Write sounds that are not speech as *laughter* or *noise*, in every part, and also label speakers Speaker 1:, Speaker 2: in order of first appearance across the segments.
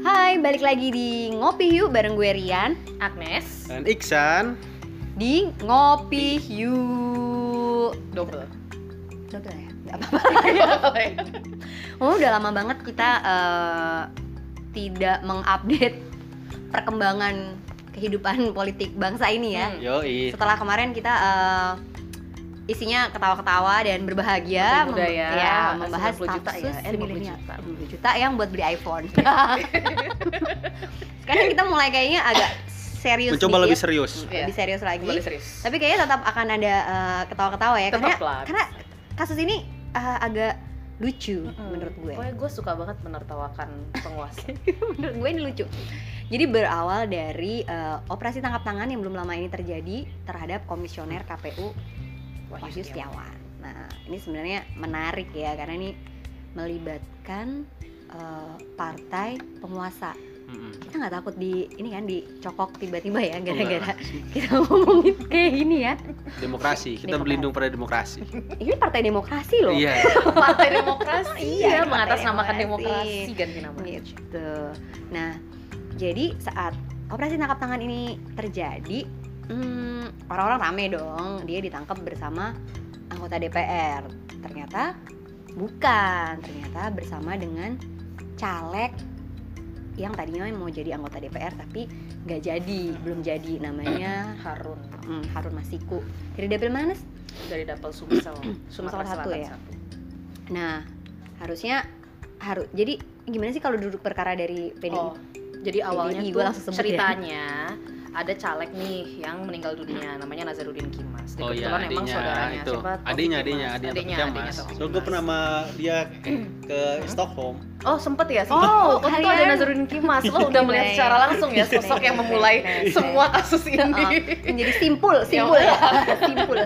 Speaker 1: Hai, balik lagi di Ngopi Yuk bareng gue Rian
Speaker 2: Agnes
Speaker 3: Dan Iksan
Speaker 1: Di Ngopi Yuk
Speaker 3: *laughs*
Speaker 2: double Hmm.
Speaker 1: Double ya? Nggak apa-apa Oh, udah lama banget kita eh, tidak mengupdate perkembangan kehidupan *laughs* politik bangsa ini ya
Speaker 2: Hmm.
Speaker 3: Yoi
Speaker 1: Setelah kemarin kita eh, isinya ketawa-ketawa dan berbahagia
Speaker 2: Menteri Budaya,
Speaker 1: mem- ya, membahas
Speaker 2: 90 juta
Speaker 1: status
Speaker 2: ya, eh, 50
Speaker 1: milenial.
Speaker 2: juta.
Speaker 1: 50 juta yang buat beli
Speaker 2: *laughs*
Speaker 1: iPhone. Sekarang kita mulai kayaknya agak serius
Speaker 3: Mencoba
Speaker 1: dikit, ya.
Speaker 3: lebih serius
Speaker 2: Iya.
Speaker 1: lebih serius lagi.
Speaker 2: kembali serius
Speaker 1: Tapi kayaknya tetap akan ada eh, ketawa-ketawa ya
Speaker 2: Tetap
Speaker 1: karena
Speaker 2: lah.
Speaker 1: karena kasus ini eh, agak lucu
Speaker 2: Mm-mm.
Speaker 1: menurut gue.
Speaker 2: Hmm. pokoknya gue suka banget menertawakan penguasa
Speaker 1: *laughs* menurut gue ini lucu. Jadi berawal dari eh, operasi tangkap tangan yang belum lama ini terjadi terhadap komisioner KPU Wahyu Setiawan. Nah, ini sebenarnya menarik ya karena ini melibatkan eh, partai penguasa.
Speaker 2: Hmm,
Speaker 3: Mm-mm.
Speaker 1: Kita nggak takut di ini kan dicokok tiba-tiba ya gara-gara kita *laughs* ngomongin kayak gini ya.
Speaker 3: Demokrasi,
Speaker 1: Demokrasi.
Speaker 3: kita berlindung pada demokrasi
Speaker 1: Ini partai demokrasi loh.
Speaker 3: Iya
Speaker 2: partai
Speaker 1: *laughs*
Speaker 2: demokrasi
Speaker 1: Iya,
Speaker 2: iya
Speaker 1: partai
Speaker 2: mengatasnamakan
Speaker 1: demokrasi.
Speaker 2: demokrasi ganti namanya
Speaker 1: Gitu. Nah, jadi saat operasi tangkap tangan ini terjadi, hmm, orang-orang rame dong. Dia ditangkap bersama anggota DPR. Ternyata bukan, ternyata bersama dengan caleg yang tadinya mau jadi anggota DPR tapi nggak jadi, belum jadi namanya
Speaker 2: Harun
Speaker 1: hmm, Harun Masiku dari dapil mana
Speaker 2: dari Dapil Sumsel
Speaker 1: *clears throat* Sumsel
Speaker 2: Sumatera
Speaker 1: satu
Speaker 2: Selatan
Speaker 1: ya?
Speaker 2: satu.
Speaker 1: Nah, harusnya harus jadi gimana sih kalau duduk perkara dari PDI?
Speaker 2: Oh, jadi awalnya
Speaker 1: PDI,
Speaker 2: tuh
Speaker 1: gua langsung sebut ya.
Speaker 2: ceritanya ada caleg nih yang meninggal dunia namanya Nazarudin Kimas. Dia
Speaker 3: Oh iya,
Speaker 2: kebetulan emang saudaranya
Speaker 3: adiknya itu
Speaker 2: siapa? Taufik
Speaker 3: Adiknya,
Speaker 2: Kimas.
Speaker 3: adiknya, adiknya
Speaker 2: adiknya,
Speaker 3: Taufik
Speaker 2: adiknya
Speaker 3: Kemas.
Speaker 2: Taufik
Speaker 3: So, gue
Speaker 2: Kemas.
Speaker 3: pernah sama dia ke Stockholm
Speaker 2: Oh sempet ya sih.
Speaker 1: Oh,
Speaker 2: Oh, untung
Speaker 1: kalian-
Speaker 2: ada Nazarudin *laughs* Kimas. Lo udah melihat
Speaker 1: Baik.
Speaker 2: secara langsung ya sosok yang memulai
Speaker 1: Baik.
Speaker 2: *laughs* semua kasus ini.
Speaker 1: Heeh, menjadi simpul, simpul ya. simpul.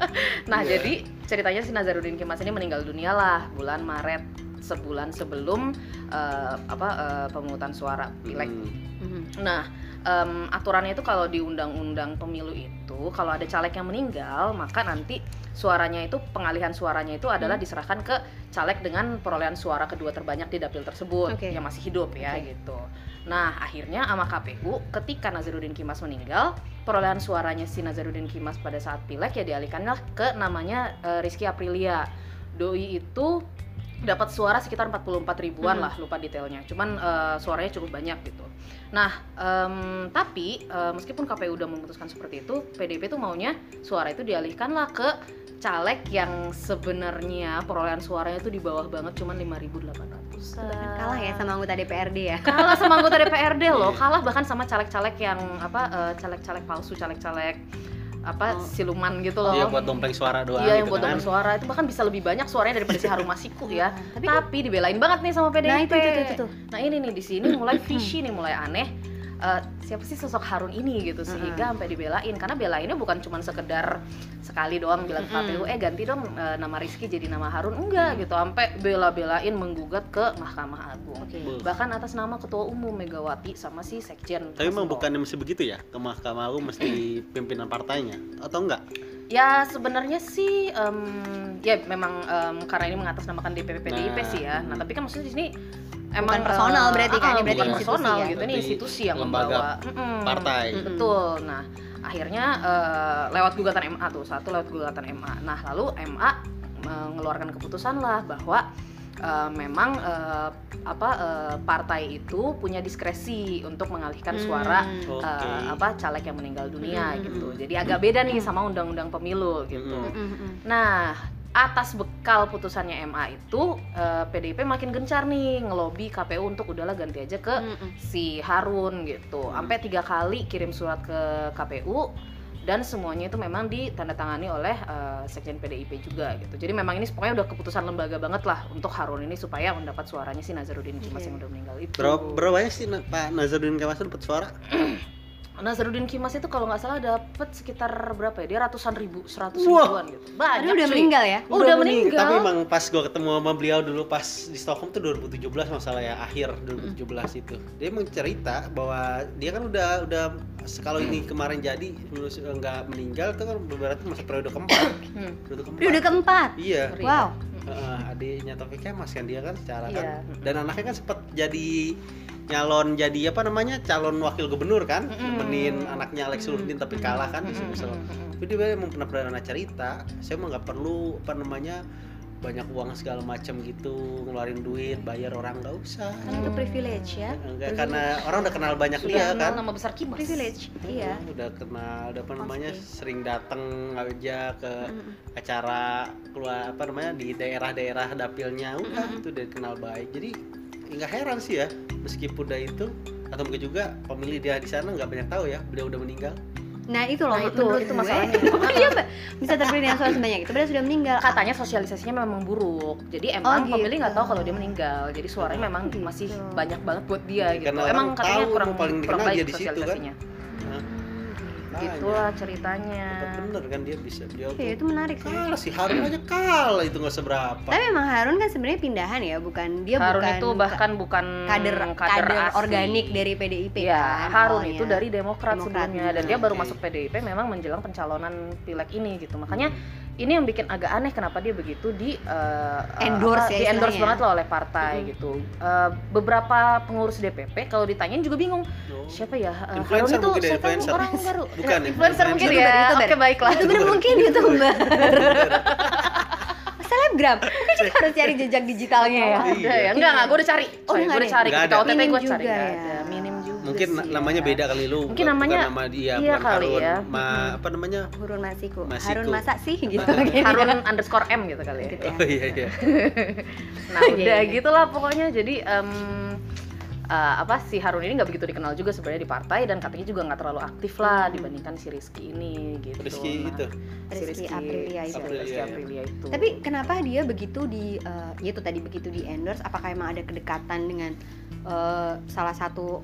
Speaker 2: *laughs* Nah
Speaker 3: Iya.
Speaker 2: jadi ceritanya si Nazarudin Kimas ini meninggal dunia lah bulan Maret sebulan sebelum eh, apa eh, pemungutan suara pileg
Speaker 3: Hmm.
Speaker 1: Mhm.
Speaker 2: Nah, em, aturannya itu kalau di undang-undang pemilu itu kalau ada caleg yang meninggal, maka nanti suaranya itu pengalihan suaranya itu adalah
Speaker 1: Hmm.
Speaker 2: diserahkan ke caleg dengan perolehan suara kedua terbanyak di dapil tersebut
Speaker 1: Oke.
Speaker 2: yang masih hidup ya
Speaker 1: Oke.
Speaker 2: gitu. Nah, akhirnya sama KPU ketika Nazarudin Kimas meninggal, perolehan suaranya si Nazarudin Kimas pada saat pileg ya dialihkanlah ke namanya eh, Rizky Aprilia. Doi itu dapat suara sekitar 44 ribuan
Speaker 1: Mhm.
Speaker 2: lah, lupa detailnya. Cuman eh, suaranya cukup banyak gitu. Nah, em, tapi eh, meskipun KPU udah memutuskan seperti itu, PDP tuh maunya suara itu dialihkanlah ke caleg yang sebenarnya perolehan suaranya tuh di bawah banget cuman 5.800.
Speaker 1: Bahkan kalah ya sama anggota DPRD ya.
Speaker 2: kalah sama anggota DPRD
Speaker 1: *laughs*
Speaker 2: loh,
Speaker 3: Iya.
Speaker 2: kalah bahkan sama caleg-caleg yang apa eh, caleg-caleg palsu, caleg-caleg apa
Speaker 1: Oh.
Speaker 2: siluman gitu loh.
Speaker 3: Dia Iya, buat dompleng suara doang
Speaker 2: Iya, yang
Speaker 3: gitu
Speaker 2: buat
Speaker 3: kan
Speaker 2: donor suara itu bahkan bisa lebih banyak suaranya daripada si Harum Masiku ya.
Speaker 1: Tapi
Speaker 2: Tapi, dibelain banget nih sama PDIP.
Speaker 1: nah itu itu itu, itu, tuh.
Speaker 2: Nah ini nih di sini
Speaker 1: *clears throat*
Speaker 2: mulai fishy nih mulai aneh. Eh, siapa sih sosok Harun ini gitu sehingga sampai dibelain karena belainnya bukan cuma sekedar sekali doang bilang ke
Speaker 1: Mm-mm.
Speaker 2: KPU eh ganti dong eh, nama Rizky jadi nama Harun enggak gitu sampai bela-belain menggugat ke Mahkamah Agung
Speaker 1: Oke.
Speaker 3: Buh.
Speaker 2: bahkan atas nama Ketua Umum Megawati sama si Sekjen
Speaker 3: Tapi emang
Speaker 2: Hasbro.
Speaker 3: bukannya mesti begitu ya? Ke mahkamah agung
Speaker 2: Hmm.
Speaker 3: mesti pimpinan partainya Atau enggak?
Speaker 2: ya sebenarnya sih em, ya memang em, karena ini mengatasnamakan DPP PDIP
Speaker 3: Nah,
Speaker 2: sih ya nah
Speaker 3: mm.
Speaker 2: tapi kan maksudnya di sini
Speaker 1: Bukan personal
Speaker 2: eh,
Speaker 1: berarti kan, ini
Speaker 2: ah,
Speaker 1: berarti
Speaker 2: bukan
Speaker 3: institusi
Speaker 2: personal
Speaker 1: ya.
Speaker 2: gitu ini
Speaker 3: Berarti
Speaker 2: institusi yang
Speaker 3: lembaga
Speaker 2: membawa Mm-mm.
Speaker 3: Partai
Speaker 1: Mm-mm.
Speaker 2: Betul. Nah, akhirnya eh, lewat gugatan MA tuh, satu lewat gugatan MA. Nah, lalu MA mengeluarkan keputusan lah bahwa eh, memang eh, apa eh, partai itu punya diskresi untuk mengalihkan suara
Speaker 1: Hmm.
Speaker 3: Oke. Hmm.
Speaker 2: eh, apa caleg yang meninggal dunia
Speaker 1: Mm-mm.
Speaker 2: gitu. Jadi agak beda nih sama undang-undang pemilu gitu.
Speaker 3: Mm-mm.
Speaker 1: Mm, mm.
Speaker 2: Nah, atas bekal putusannya MA itu eh, PDIP makin gencar nih ngelobi KPU untuk udahlah ganti aja ke
Speaker 1: Mm, mm.
Speaker 2: si Harun gitu.
Speaker 3: Hmm.
Speaker 2: Sampai tiga kali kirim surat ke KPU dan semuanya itu memang ditandatangani oleh eh, sekjen PDIP juga gitu. Jadi memang ini pokoknya udah keputusan lembaga banget lah untuk Harun ini supaya mendapat suaranya si Nazarudin Kimas
Speaker 1: Oke.
Speaker 2: yang udah meninggal itu.
Speaker 3: Berapa, berapa banyak sih Na- Pak Nazarudin Kemas dapat suara?
Speaker 2: Nazarudin Kimas itu kalau nggak salah dapat sekitar berapa ya? Dia ratusan ribu, seratus
Speaker 3: Wah.
Speaker 2: ribuan gitu. Banyak
Speaker 1: Padahal udah
Speaker 2: cuy.
Speaker 1: meninggal ya.
Speaker 2: Oh, udah
Speaker 3: mening-
Speaker 2: meninggal.
Speaker 3: Tapi emang pas gua ketemu sama beliau dulu pas di Stockholm tuh 2017 masalah ya akhir
Speaker 2: Hmm.
Speaker 3: 2017 itu. Dia emang cerita bahwa dia kan udah udah kalau ini kemarin jadi eh, menurut- nggak meninggal itu kan berarti masuk periode keempat.
Speaker 2: Hmm.
Speaker 3: Periode keempat.
Speaker 1: Periode keempat.
Speaker 3: Iya.
Speaker 2: Ngeri.
Speaker 1: Wow,
Speaker 2: Mm-mm.
Speaker 3: Heeh, adiknya Taufik Kemas kan dia kan secara kan
Speaker 1: Iya.
Speaker 3: Iya. dan anaknya kan sempat jadi nyalon jadi apa namanya calon wakil gubernur kan
Speaker 2: Mm-mm.
Speaker 3: nemenin anaknya Alex Nurdin tapi kalah kan
Speaker 2: Hmm.
Speaker 3: di Sumsel tapi dia emang pernah pernah cerita saya emang nggak perlu apa namanya banyak uang segala macam gitu ngeluarin duit bayar orang nggak usah
Speaker 2: Kan
Speaker 1: Karena itu privilege ya.
Speaker 3: Enggak, karena orang udah kenal banyak
Speaker 2: Sudah
Speaker 3: dia
Speaker 2: kenal
Speaker 3: kan
Speaker 2: nama besar Kimas.
Speaker 1: Privilege. Iya.
Speaker 3: Mm, udah kenal udah apa namanya
Speaker 1: Pasti.
Speaker 3: sering datang aja ke
Speaker 1: Mm-mm.
Speaker 3: acara keluar apa namanya di daerah-daerah dapilnya udah
Speaker 1: Mm-mm.
Speaker 3: itu udah kenal baik jadi ya nggak heran sih ya meskipun udah itu atau mungkin juga pemilih dia di sana nggak banyak tahu ya beliau udah meninggal
Speaker 1: Nah itu loh
Speaker 2: Nah, itu-
Speaker 1: menurut
Speaker 2: itu
Speaker 1: gue, *laughs*
Speaker 2: masalahnya. Kan.
Speaker 1: kenapa dia ba- bisa terpilih dengan suara sebanyak itu? Padahal sudah meninggal.
Speaker 2: Katanya sosialisasinya memang buruk. Jadi emang
Speaker 1: gitu.
Speaker 2: pemilih nggak tahu kalau dia meninggal. Jadi suaranya memang
Speaker 1: gitu.
Speaker 2: masih banyak banget buat dia gitu.
Speaker 3: Iya, Karena
Speaker 2: emang
Speaker 3: orang
Speaker 2: katanya
Speaker 3: tahu,
Speaker 2: kurang
Speaker 3: paling
Speaker 2: kurang
Speaker 3: dikenal
Speaker 2: baik
Speaker 3: dia di situ, kan? Nah, iya.
Speaker 2: sosialisasinya.
Speaker 3: Banyak.
Speaker 1: Gitu
Speaker 2: Gitulah ceritanya.
Speaker 3: Tetap bener kan dia bisa beliau
Speaker 1: Ah. Iya itu
Speaker 3: tuh
Speaker 1: menarik sih.
Speaker 3: kalah sih Harun aja kalah itu nggak seberapa
Speaker 1: Tapi memang Harun kan sebenarnya pindahan ya, bukan dia
Speaker 2: Harun
Speaker 1: bukan
Speaker 2: itu bahkan bukan
Speaker 1: kader kader,
Speaker 2: asli.
Speaker 1: organik dari PDIP
Speaker 2: Ya,
Speaker 1: kan.
Speaker 2: Harun
Speaker 1: awalnya.
Speaker 2: itu dari Demokrat,
Speaker 1: Demokrat,
Speaker 2: sebelumnya dan
Speaker 3: benar.
Speaker 2: dia baru
Speaker 3: Oke.
Speaker 2: masuk PDIP memang menjelang pencalonan pileg ini gitu. Makanya ini yang bikin agak aneh kenapa dia begitu di eh, eh,
Speaker 1: Endorse ya
Speaker 2: apa, di endorse
Speaker 1: istilahnya.
Speaker 2: banget loh oleh partai
Speaker 1: Mhm.
Speaker 2: gitu. Eh, beberapa pengurus DPP kalau ditanyain juga bingung
Speaker 3: Oh.
Speaker 2: siapa ya Eh, Harun
Speaker 3: Influencer
Speaker 2: itu
Speaker 3: mungkin ya,
Speaker 2: siapa yang
Speaker 3: influencer.
Speaker 2: orang baru Nah,
Speaker 3: Bukan ya,
Speaker 2: influencer mungkin
Speaker 1: influencer.
Speaker 2: ya
Speaker 1: YouTuber,
Speaker 2: oke baiklah *laughs*
Speaker 1: itu bener mungkin youtuber selebgram kan kita harus cari jejak digitalnya ya
Speaker 3: Iya.
Speaker 2: ada ya enggak enggak gue udah cari
Speaker 1: Oh,
Speaker 2: Coy,
Speaker 1: nggak
Speaker 2: gue udah
Speaker 1: ada.
Speaker 2: cari
Speaker 3: Nggak
Speaker 2: ketika
Speaker 3: ada.
Speaker 2: OTT gue
Speaker 1: Minim
Speaker 2: cari Iya.
Speaker 1: juga
Speaker 2: nggak
Speaker 1: ya.
Speaker 2: ada minim juga
Speaker 3: mungkin na-
Speaker 2: sih
Speaker 3: namanya
Speaker 2: ya.
Speaker 3: beda kali lu
Speaker 2: Mungkin
Speaker 3: bukan-
Speaker 2: namanya-
Speaker 3: bukan nama dia
Speaker 2: iya
Speaker 3: bukan
Speaker 2: kali
Speaker 3: Harun
Speaker 2: ya.
Speaker 3: ma apa namanya
Speaker 1: Harun Masiku.
Speaker 3: Masiku.
Speaker 1: Harun masa sih gitu
Speaker 2: Harun underscore M gitu kali ya
Speaker 1: Gitu ya.
Speaker 3: oh iya iya
Speaker 1: *laughs*
Speaker 2: Nah
Speaker 1: Iya,
Speaker 2: udah
Speaker 1: iya, iya.
Speaker 2: gitulah pokoknya jadi em, eh, apa si Harun ini nggak begitu dikenal juga sebenarnya di partai dan katanya juga nggak terlalu aktif lah
Speaker 1: Hmm.
Speaker 2: dibandingkan si Rizky ini gitu. Nah,
Speaker 3: Rizky itu
Speaker 2: si
Speaker 1: Rizky Aprilia
Speaker 2: si
Speaker 1: itu.
Speaker 2: Rizky
Speaker 3: Aprilia, ya.
Speaker 2: Aprilia itu.
Speaker 1: tapi kenapa dia begitu di eh, ya itu tadi begitu di endorse apakah emang ada kedekatan dengan eh, salah satu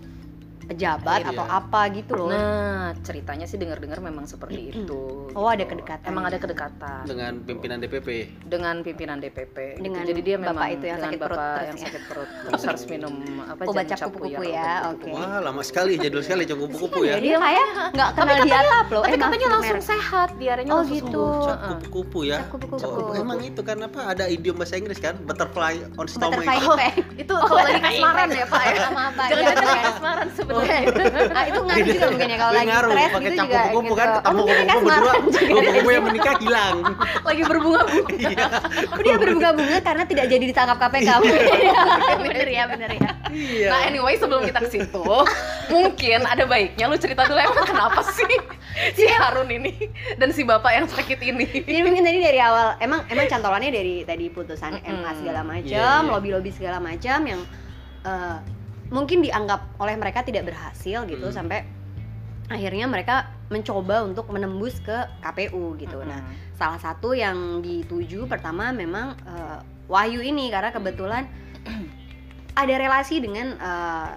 Speaker 1: pejabat
Speaker 3: Iya.
Speaker 1: atau apa gitu loh
Speaker 2: Nah ceritanya sih dengar-dengar memang seperti itu.
Speaker 1: Oh, ada
Speaker 2: gitu.
Speaker 1: kedekatan.
Speaker 2: Emang ada kedekatan
Speaker 3: dengan pimpinan DPP
Speaker 2: dengan pimpinan DPP. gitu.
Speaker 1: Dengan
Speaker 2: Jadi dia
Speaker 1: bapak
Speaker 2: memang
Speaker 1: itu yang
Speaker 2: dengan
Speaker 1: sakit perut
Speaker 2: bapak
Speaker 1: terus
Speaker 2: yang
Speaker 1: ya.
Speaker 2: sakit
Speaker 1: *laughs*
Speaker 2: perut terus harus minum apa
Speaker 1: Obat
Speaker 2: jamu
Speaker 1: cap kupu-kupu ya,
Speaker 2: obat
Speaker 1: oke.
Speaker 2: kupu-kupu.
Speaker 3: wah lama sekali jadul sekali canggung kupu-kupu
Speaker 1: Kasihan
Speaker 3: ya
Speaker 1: dia kayak nggak
Speaker 2: Tapi
Speaker 1: kenal diatap loh
Speaker 2: Tapi
Speaker 1: Eh, maaf,
Speaker 2: katanya langsung
Speaker 1: merek.
Speaker 2: sehat, diarenya
Speaker 1: Oh,
Speaker 2: langsung
Speaker 1: gitu.
Speaker 2: sembuh.
Speaker 3: Cap
Speaker 2: Heeh.
Speaker 3: kupu-kupu ya
Speaker 1: Cap kupu-kupu.
Speaker 3: Oh, emang itu kan apa ada idiom bahasa Inggris kan butterfly on stomach
Speaker 1: butterfly
Speaker 3: *laughs*
Speaker 1: effect
Speaker 2: itu kalau *laughs* lagi kasmaran ya pak ya
Speaker 1: sama apa
Speaker 2: jangan
Speaker 1: gitu
Speaker 2: jangan
Speaker 1: kan.
Speaker 2: kasmaran sebenarnya
Speaker 1: Ah, itu ngaruh juga mungkin ya kalau
Speaker 3: Dia
Speaker 1: lagi
Speaker 3: Iya. ngaruh,
Speaker 1: stres
Speaker 3: pakai
Speaker 1: gitu
Speaker 3: cap
Speaker 1: juga
Speaker 3: kupu-kupu
Speaker 1: gitu.
Speaker 3: kan
Speaker 1: Oh,
Speaker 3: ketemu
Speaker 1: mungkin
Speaker 3: kupu-kupu
Speaker 1: kasmaran
Speaker 3: berdua
Speaker 1: juga.
Speaker 3: kupu-kupu yang menikah hilang *laughs*
Speaker 2: lagi berbunga-bunga
Speaker 3: iya
Speaker 1: Oh, *laughs* dia berbunga-bunga karena tidak jadi ditangkap KPK. *laughs* bener ya, bener ya.
Speaker 3: iya
Speaker 2: Iya. nah anyway sebelum kita ke situ mungkin ada baiknya lu cerita dulu emang kenapa sih si Harun ini dan si bapak yang sakit ini
Speaker 1: Jadi mungkin tadi dari awal emang emang cantolannya dari tadi putusan
Speaker 2: Mm-mm.
Speaker 1: MA segala macam,
Speaker 3: Iya, iya.
Speaker 1: lobby-lobby segala macam yang eh, mungkin dianggap oleh mereka tidak berhasil gitu
Speaker 3: Mm.
Speaker 1: sampai akhirnya mereka mencoba untuk menembus ke KPU gitu. Nah, salah satu yang dituju pertama memang eh, Wahyu ini karena kebetulan *clears throat* ada relasi dengan eh,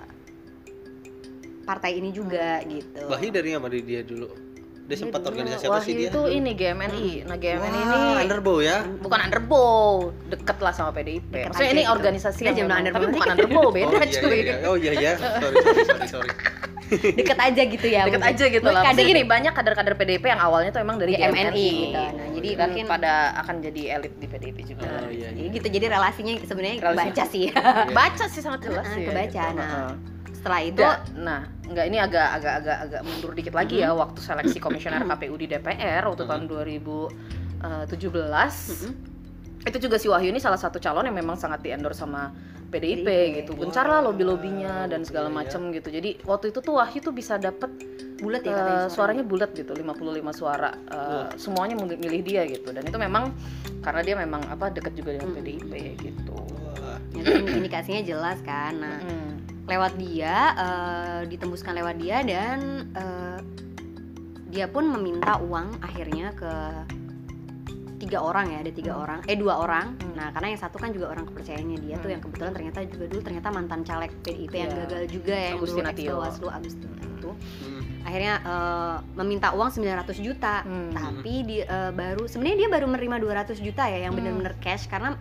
Speaker 1: partai ini juga gitu.
Speaker 3: Wahyu dari apa dari dia dulu dia sempat organisasi apa
Speaker 2: Wahyu
Speaker 3: sih dia
Speaker 2: itu ini GMNI nah GMNI ini
Speaker 3: Wah, underbow ya
Speaker 2: bukan underbow deket lah sama PDIP
Speaker 1: Deket
Speaker 3: Iya,
Speaker 2: maksudnya
Speaker 1: aja
Speaker 2: ini
Speaker 1: gitu.
Speaker 2: organisasi
Speaker 1: Dia
Speaker 2: yang
Speaker 1: jangan
Speaker 2: memang-
Speaker 1: underbow.
Speaker 2: tapi bukan Iya, underbow beda
Speaker 3: oh, iya,
Speaker 2: cuy
Speaker 3: iya, iya. oh iya iya sorry sorry sorry, sorry.
Speaker 1: Deket aja gitu ya.
Speaker 2: *laughs* deket
Speaker 1: mungkin.
Speaker 2: aja
Speaker 1: Mungkin
Speaker 2: gitu lah.
Speaker 1: kadang
Speaker 2: Maksudnya Iya, gini banyak kader-kader PDIP yang awalnya tuh emang dari
Speaker 1: Di MNI,
Speaker 2: GMNI
Speaker 1: gitu. Nah, jadi
Speaker 2: dan
Speaker 1: mungkin-
Speaker 2: Oh, iya. pada akan jadi elit di PDIP juga.
Speaker 3: Oh, iya,
Speaker 1: Jadi
Speaker 3: iya.
Speaker 1: gitu jadi relasinya sebenarnya
Speaker 2: Relasi.
Speaker 1: kebaca sih. *laughs*
Speaker 3: Iya.
Speaker 2: Baca sih sangat jelas
Speaker 1: Ah,
Speaker 2: sih.
Speaker 1: kebaca,
Speaker 2: gitu.
Speaker 1: nah.
Speaker 2: Heeh.
Speaker 1: Setelah itu
Speaker 2: Da- nah, enggak ini agak agak agak agak mundur dikit lagi ya waktu seleksi komisioner KPU di DPR waktu tahun 2017.
Speaker 1: Mm-mm.
Speaker 2: Itu juga si Wahyu ini salah satu calon yang memang sangat diendorse sama PDIP
Speaker 1: PDIP.
Speaker 2: gitu. Gencar lah
Speaker 3: Wow.
Speaker 2: lobby-lobbynya dan segala
Speaker 3: Iya, iya.
Speaker 2: macem gitu. Jadi waktu itu tuh Wahyu tuh bisa dapet
Speaker 1: bulat ya
Speaker 2: Eh,
Speaker 1: katanya Iya.
Speaker 2: suaranya bulat gitu 55 suara Eh, semuanya mem- milih dia gitu dan itu memang karena dia memang apa dekat juga
Speaker 1: Mm.
Speaker 2: dengan PDIP gitu
Speaker 3: Wah,
Speaker 1: Jadi indikasinya ya, jelas kan. Nah,
Speaker 2: Mm.
Speaker 1: lewat dia eh, ditembuskan lewat dia dan eh, dia pun meminta uang akhirnya ke tiga orang ya ada tiga
Speaker 2: Hmm.
Speaker 1: orang eh dua orang
Speaker 2: Hmm.
Speaker 1: nah karena yang satu kan juga orang kepercayaannya dia tuh
Speaker 2: Hmm.
Speaker 1: yang kebetulan ternyata juga dulu ternyata mantan caleg PDIP yang
Speaker 2: Iya.
Speaker 1: gagal juga ya yang dulu
Speaker 2: Agustina Tio.
Speaker 1: ex-bawaslu Agustina
Speaker 2: Hmm.
Speaker 1: itu
Speaker 3: hmm.
Speaker 1: akhirnya eh, meminta uang 900 juta
Speaker 2: Mm.
Speaker 1: tapi di eh, baru sebenarnya dia baru menerima 200 juta ya yang
Speaker 2: Hmm.
Speaker 1: benar-benar cash karena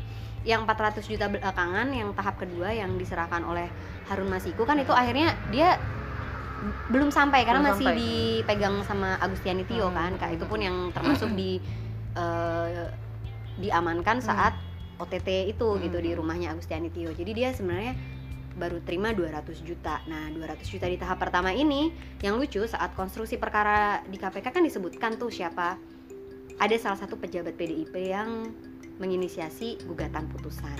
Speaker 1: yang 400 juta belakangan yang tahap kedua yang diserahkan oleh Harun Masiku kan itu akhirnya dia belum sampai karena
Speaker 2: Belum
Speaker 1: masih
Speaker 2: sampai.
Speaker 1: dipegang sama Agustiani Tio
Speaker 2: Hmm.
Speaker 1: kan Kak itu pun yang termasuk di eh, diamankan saat OTT itu gitu
Speaker 2: Hmm.
Speaker 1: di rumahnya Agustiani Tio. Jadi dia sebenarnya baru terima 200 juta. Nah, 200 juta di tahap pertama ini yang lucu saat konstruksi perkara di KPK kan disebutkan tuh siapa ada salah satu pejabat PDIP yang menginisiasi gugatan putusan.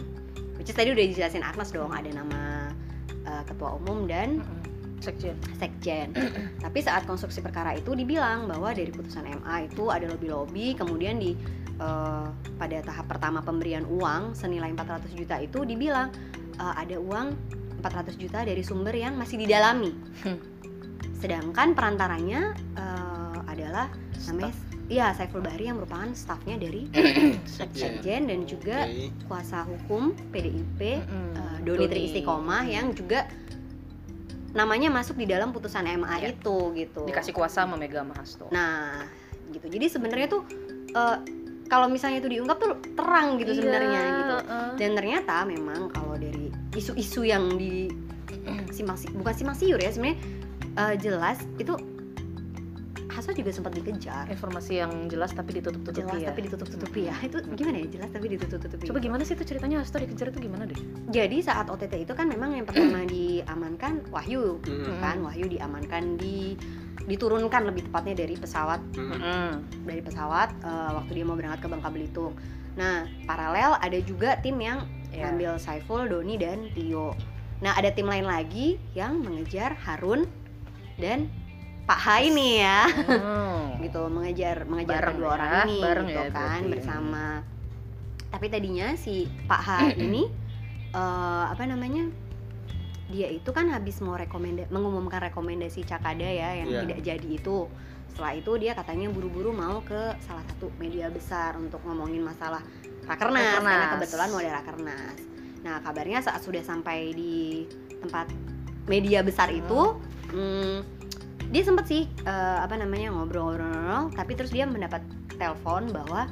Speaker 1: Which is tadi udah dijelasin Agnes dong ada nama eh, ketua umum dan
Speaker 2: Mm-mm. Sekjen.
Speaker 1: sekjen. Tapi saat konstruksi perkara itu dibilang bahwa dari putusan MA itu ada lobby-lobby, kemudian di eh, pada tahap pertama pemberian uang senilai 400 juta itu dibilang eh, ada uang 400 juta dari sumber yang masih didalami.
Speaker 2: Hmm.
Speaker 1: Sedangkan perantaranya eh, adalah namanya ya Saiful Bahri yang merupakan stafnya dari sekjen dan juga
Speaker 3: Oke.
Speaker 1: kuasa hukum PDIP
Speaker 2: Mm-mm.
Speaker 1: eh, Doni Triistiqomah yang juga namanya masuk di dalam putusan MA
Speaker 2: Ya.
Speaker 1: itu gitu.
Speaker 2: dikasih kuasa sama Mega Mahasto.
Speaker 1: Nah, gitu. Jadi sebenarnya tuh eh, kalau misalnya itu diungkap tuh terang gitu
Speaker 2: Iya,
Speaker 1: sebenarnya gitu. Dan ternyata memang kalau dari isu-isu yang di simpang si- bukan simpang siur ya sebenarnya eh, jelas itu Hasso juga sempat dikejar.
Speaker 2: *clears throat* Informasi yang jelas tapi ditutup-tutupi
Speaker 1: Jelas
Speaker 2: ya.
Speaker 1: tapi ditutup-tutupi ya. Itu gimana ya? Jelas tapi ditutup-tutupi.
Speaker 2: Coba gimana sih itu ceritanya Hasto dikejar itu gimana deh?
Speaker 1: Jadi saat OTT itu kan memang yang
Speaker 2: *clears throat*
Speaker 1: pertama diamankan Wahyu
Speaker 3: Mm,
Speaker 1: kan Wahyu diamankan di diturunkan lebih tepatnya dari pesawat
Speaker 3: mm,
Speaker 1: dari pesawat eh, waktu dia mau berangkat ke Bangka Belitung. Nah paralel ada juga tim yang
Speaker 2: Ya. *laughs*
Speaker 1: ngambil Saiful, Doni dan Tio. Nah ada tim lain lagi yang mengejar Harun dan Pak Hai nih ya
Speaker 2: Hmm.
Speaker 1: gitu mengejar mengejar
Speaker 2: Bareng
Speaker 1: kedua
Speaker 2: ya,
Speaker 1: orang ini
Speaker 2: bareng
Speaker 1: gitu
Speaker 2: ya
Speaker 1: kan
Speaker 2: berarti.
Speaker 1: bersama tapi tadinya si Pak H ini eh, apa namanya dia itu kan habis mau rekomenda mengumumkan rekomendasi Cakada ya yang
Speaker 3: Iya.
Speaker 1: tidak jadi itu setelah itu dia katanya buru-buru mau ke salah satu media besar untuk ngomongin masalah rakernas, karena
Speaker 2: Rakernas.
Speaker 1: kebetulan mau ada rakernas nah kabarnya saat sudah sampai di tempat media besar itu hmm, dia sempet sih eh, apa namanya ngobrol-ngobrol tapi terus dia mendapat telepon bahwa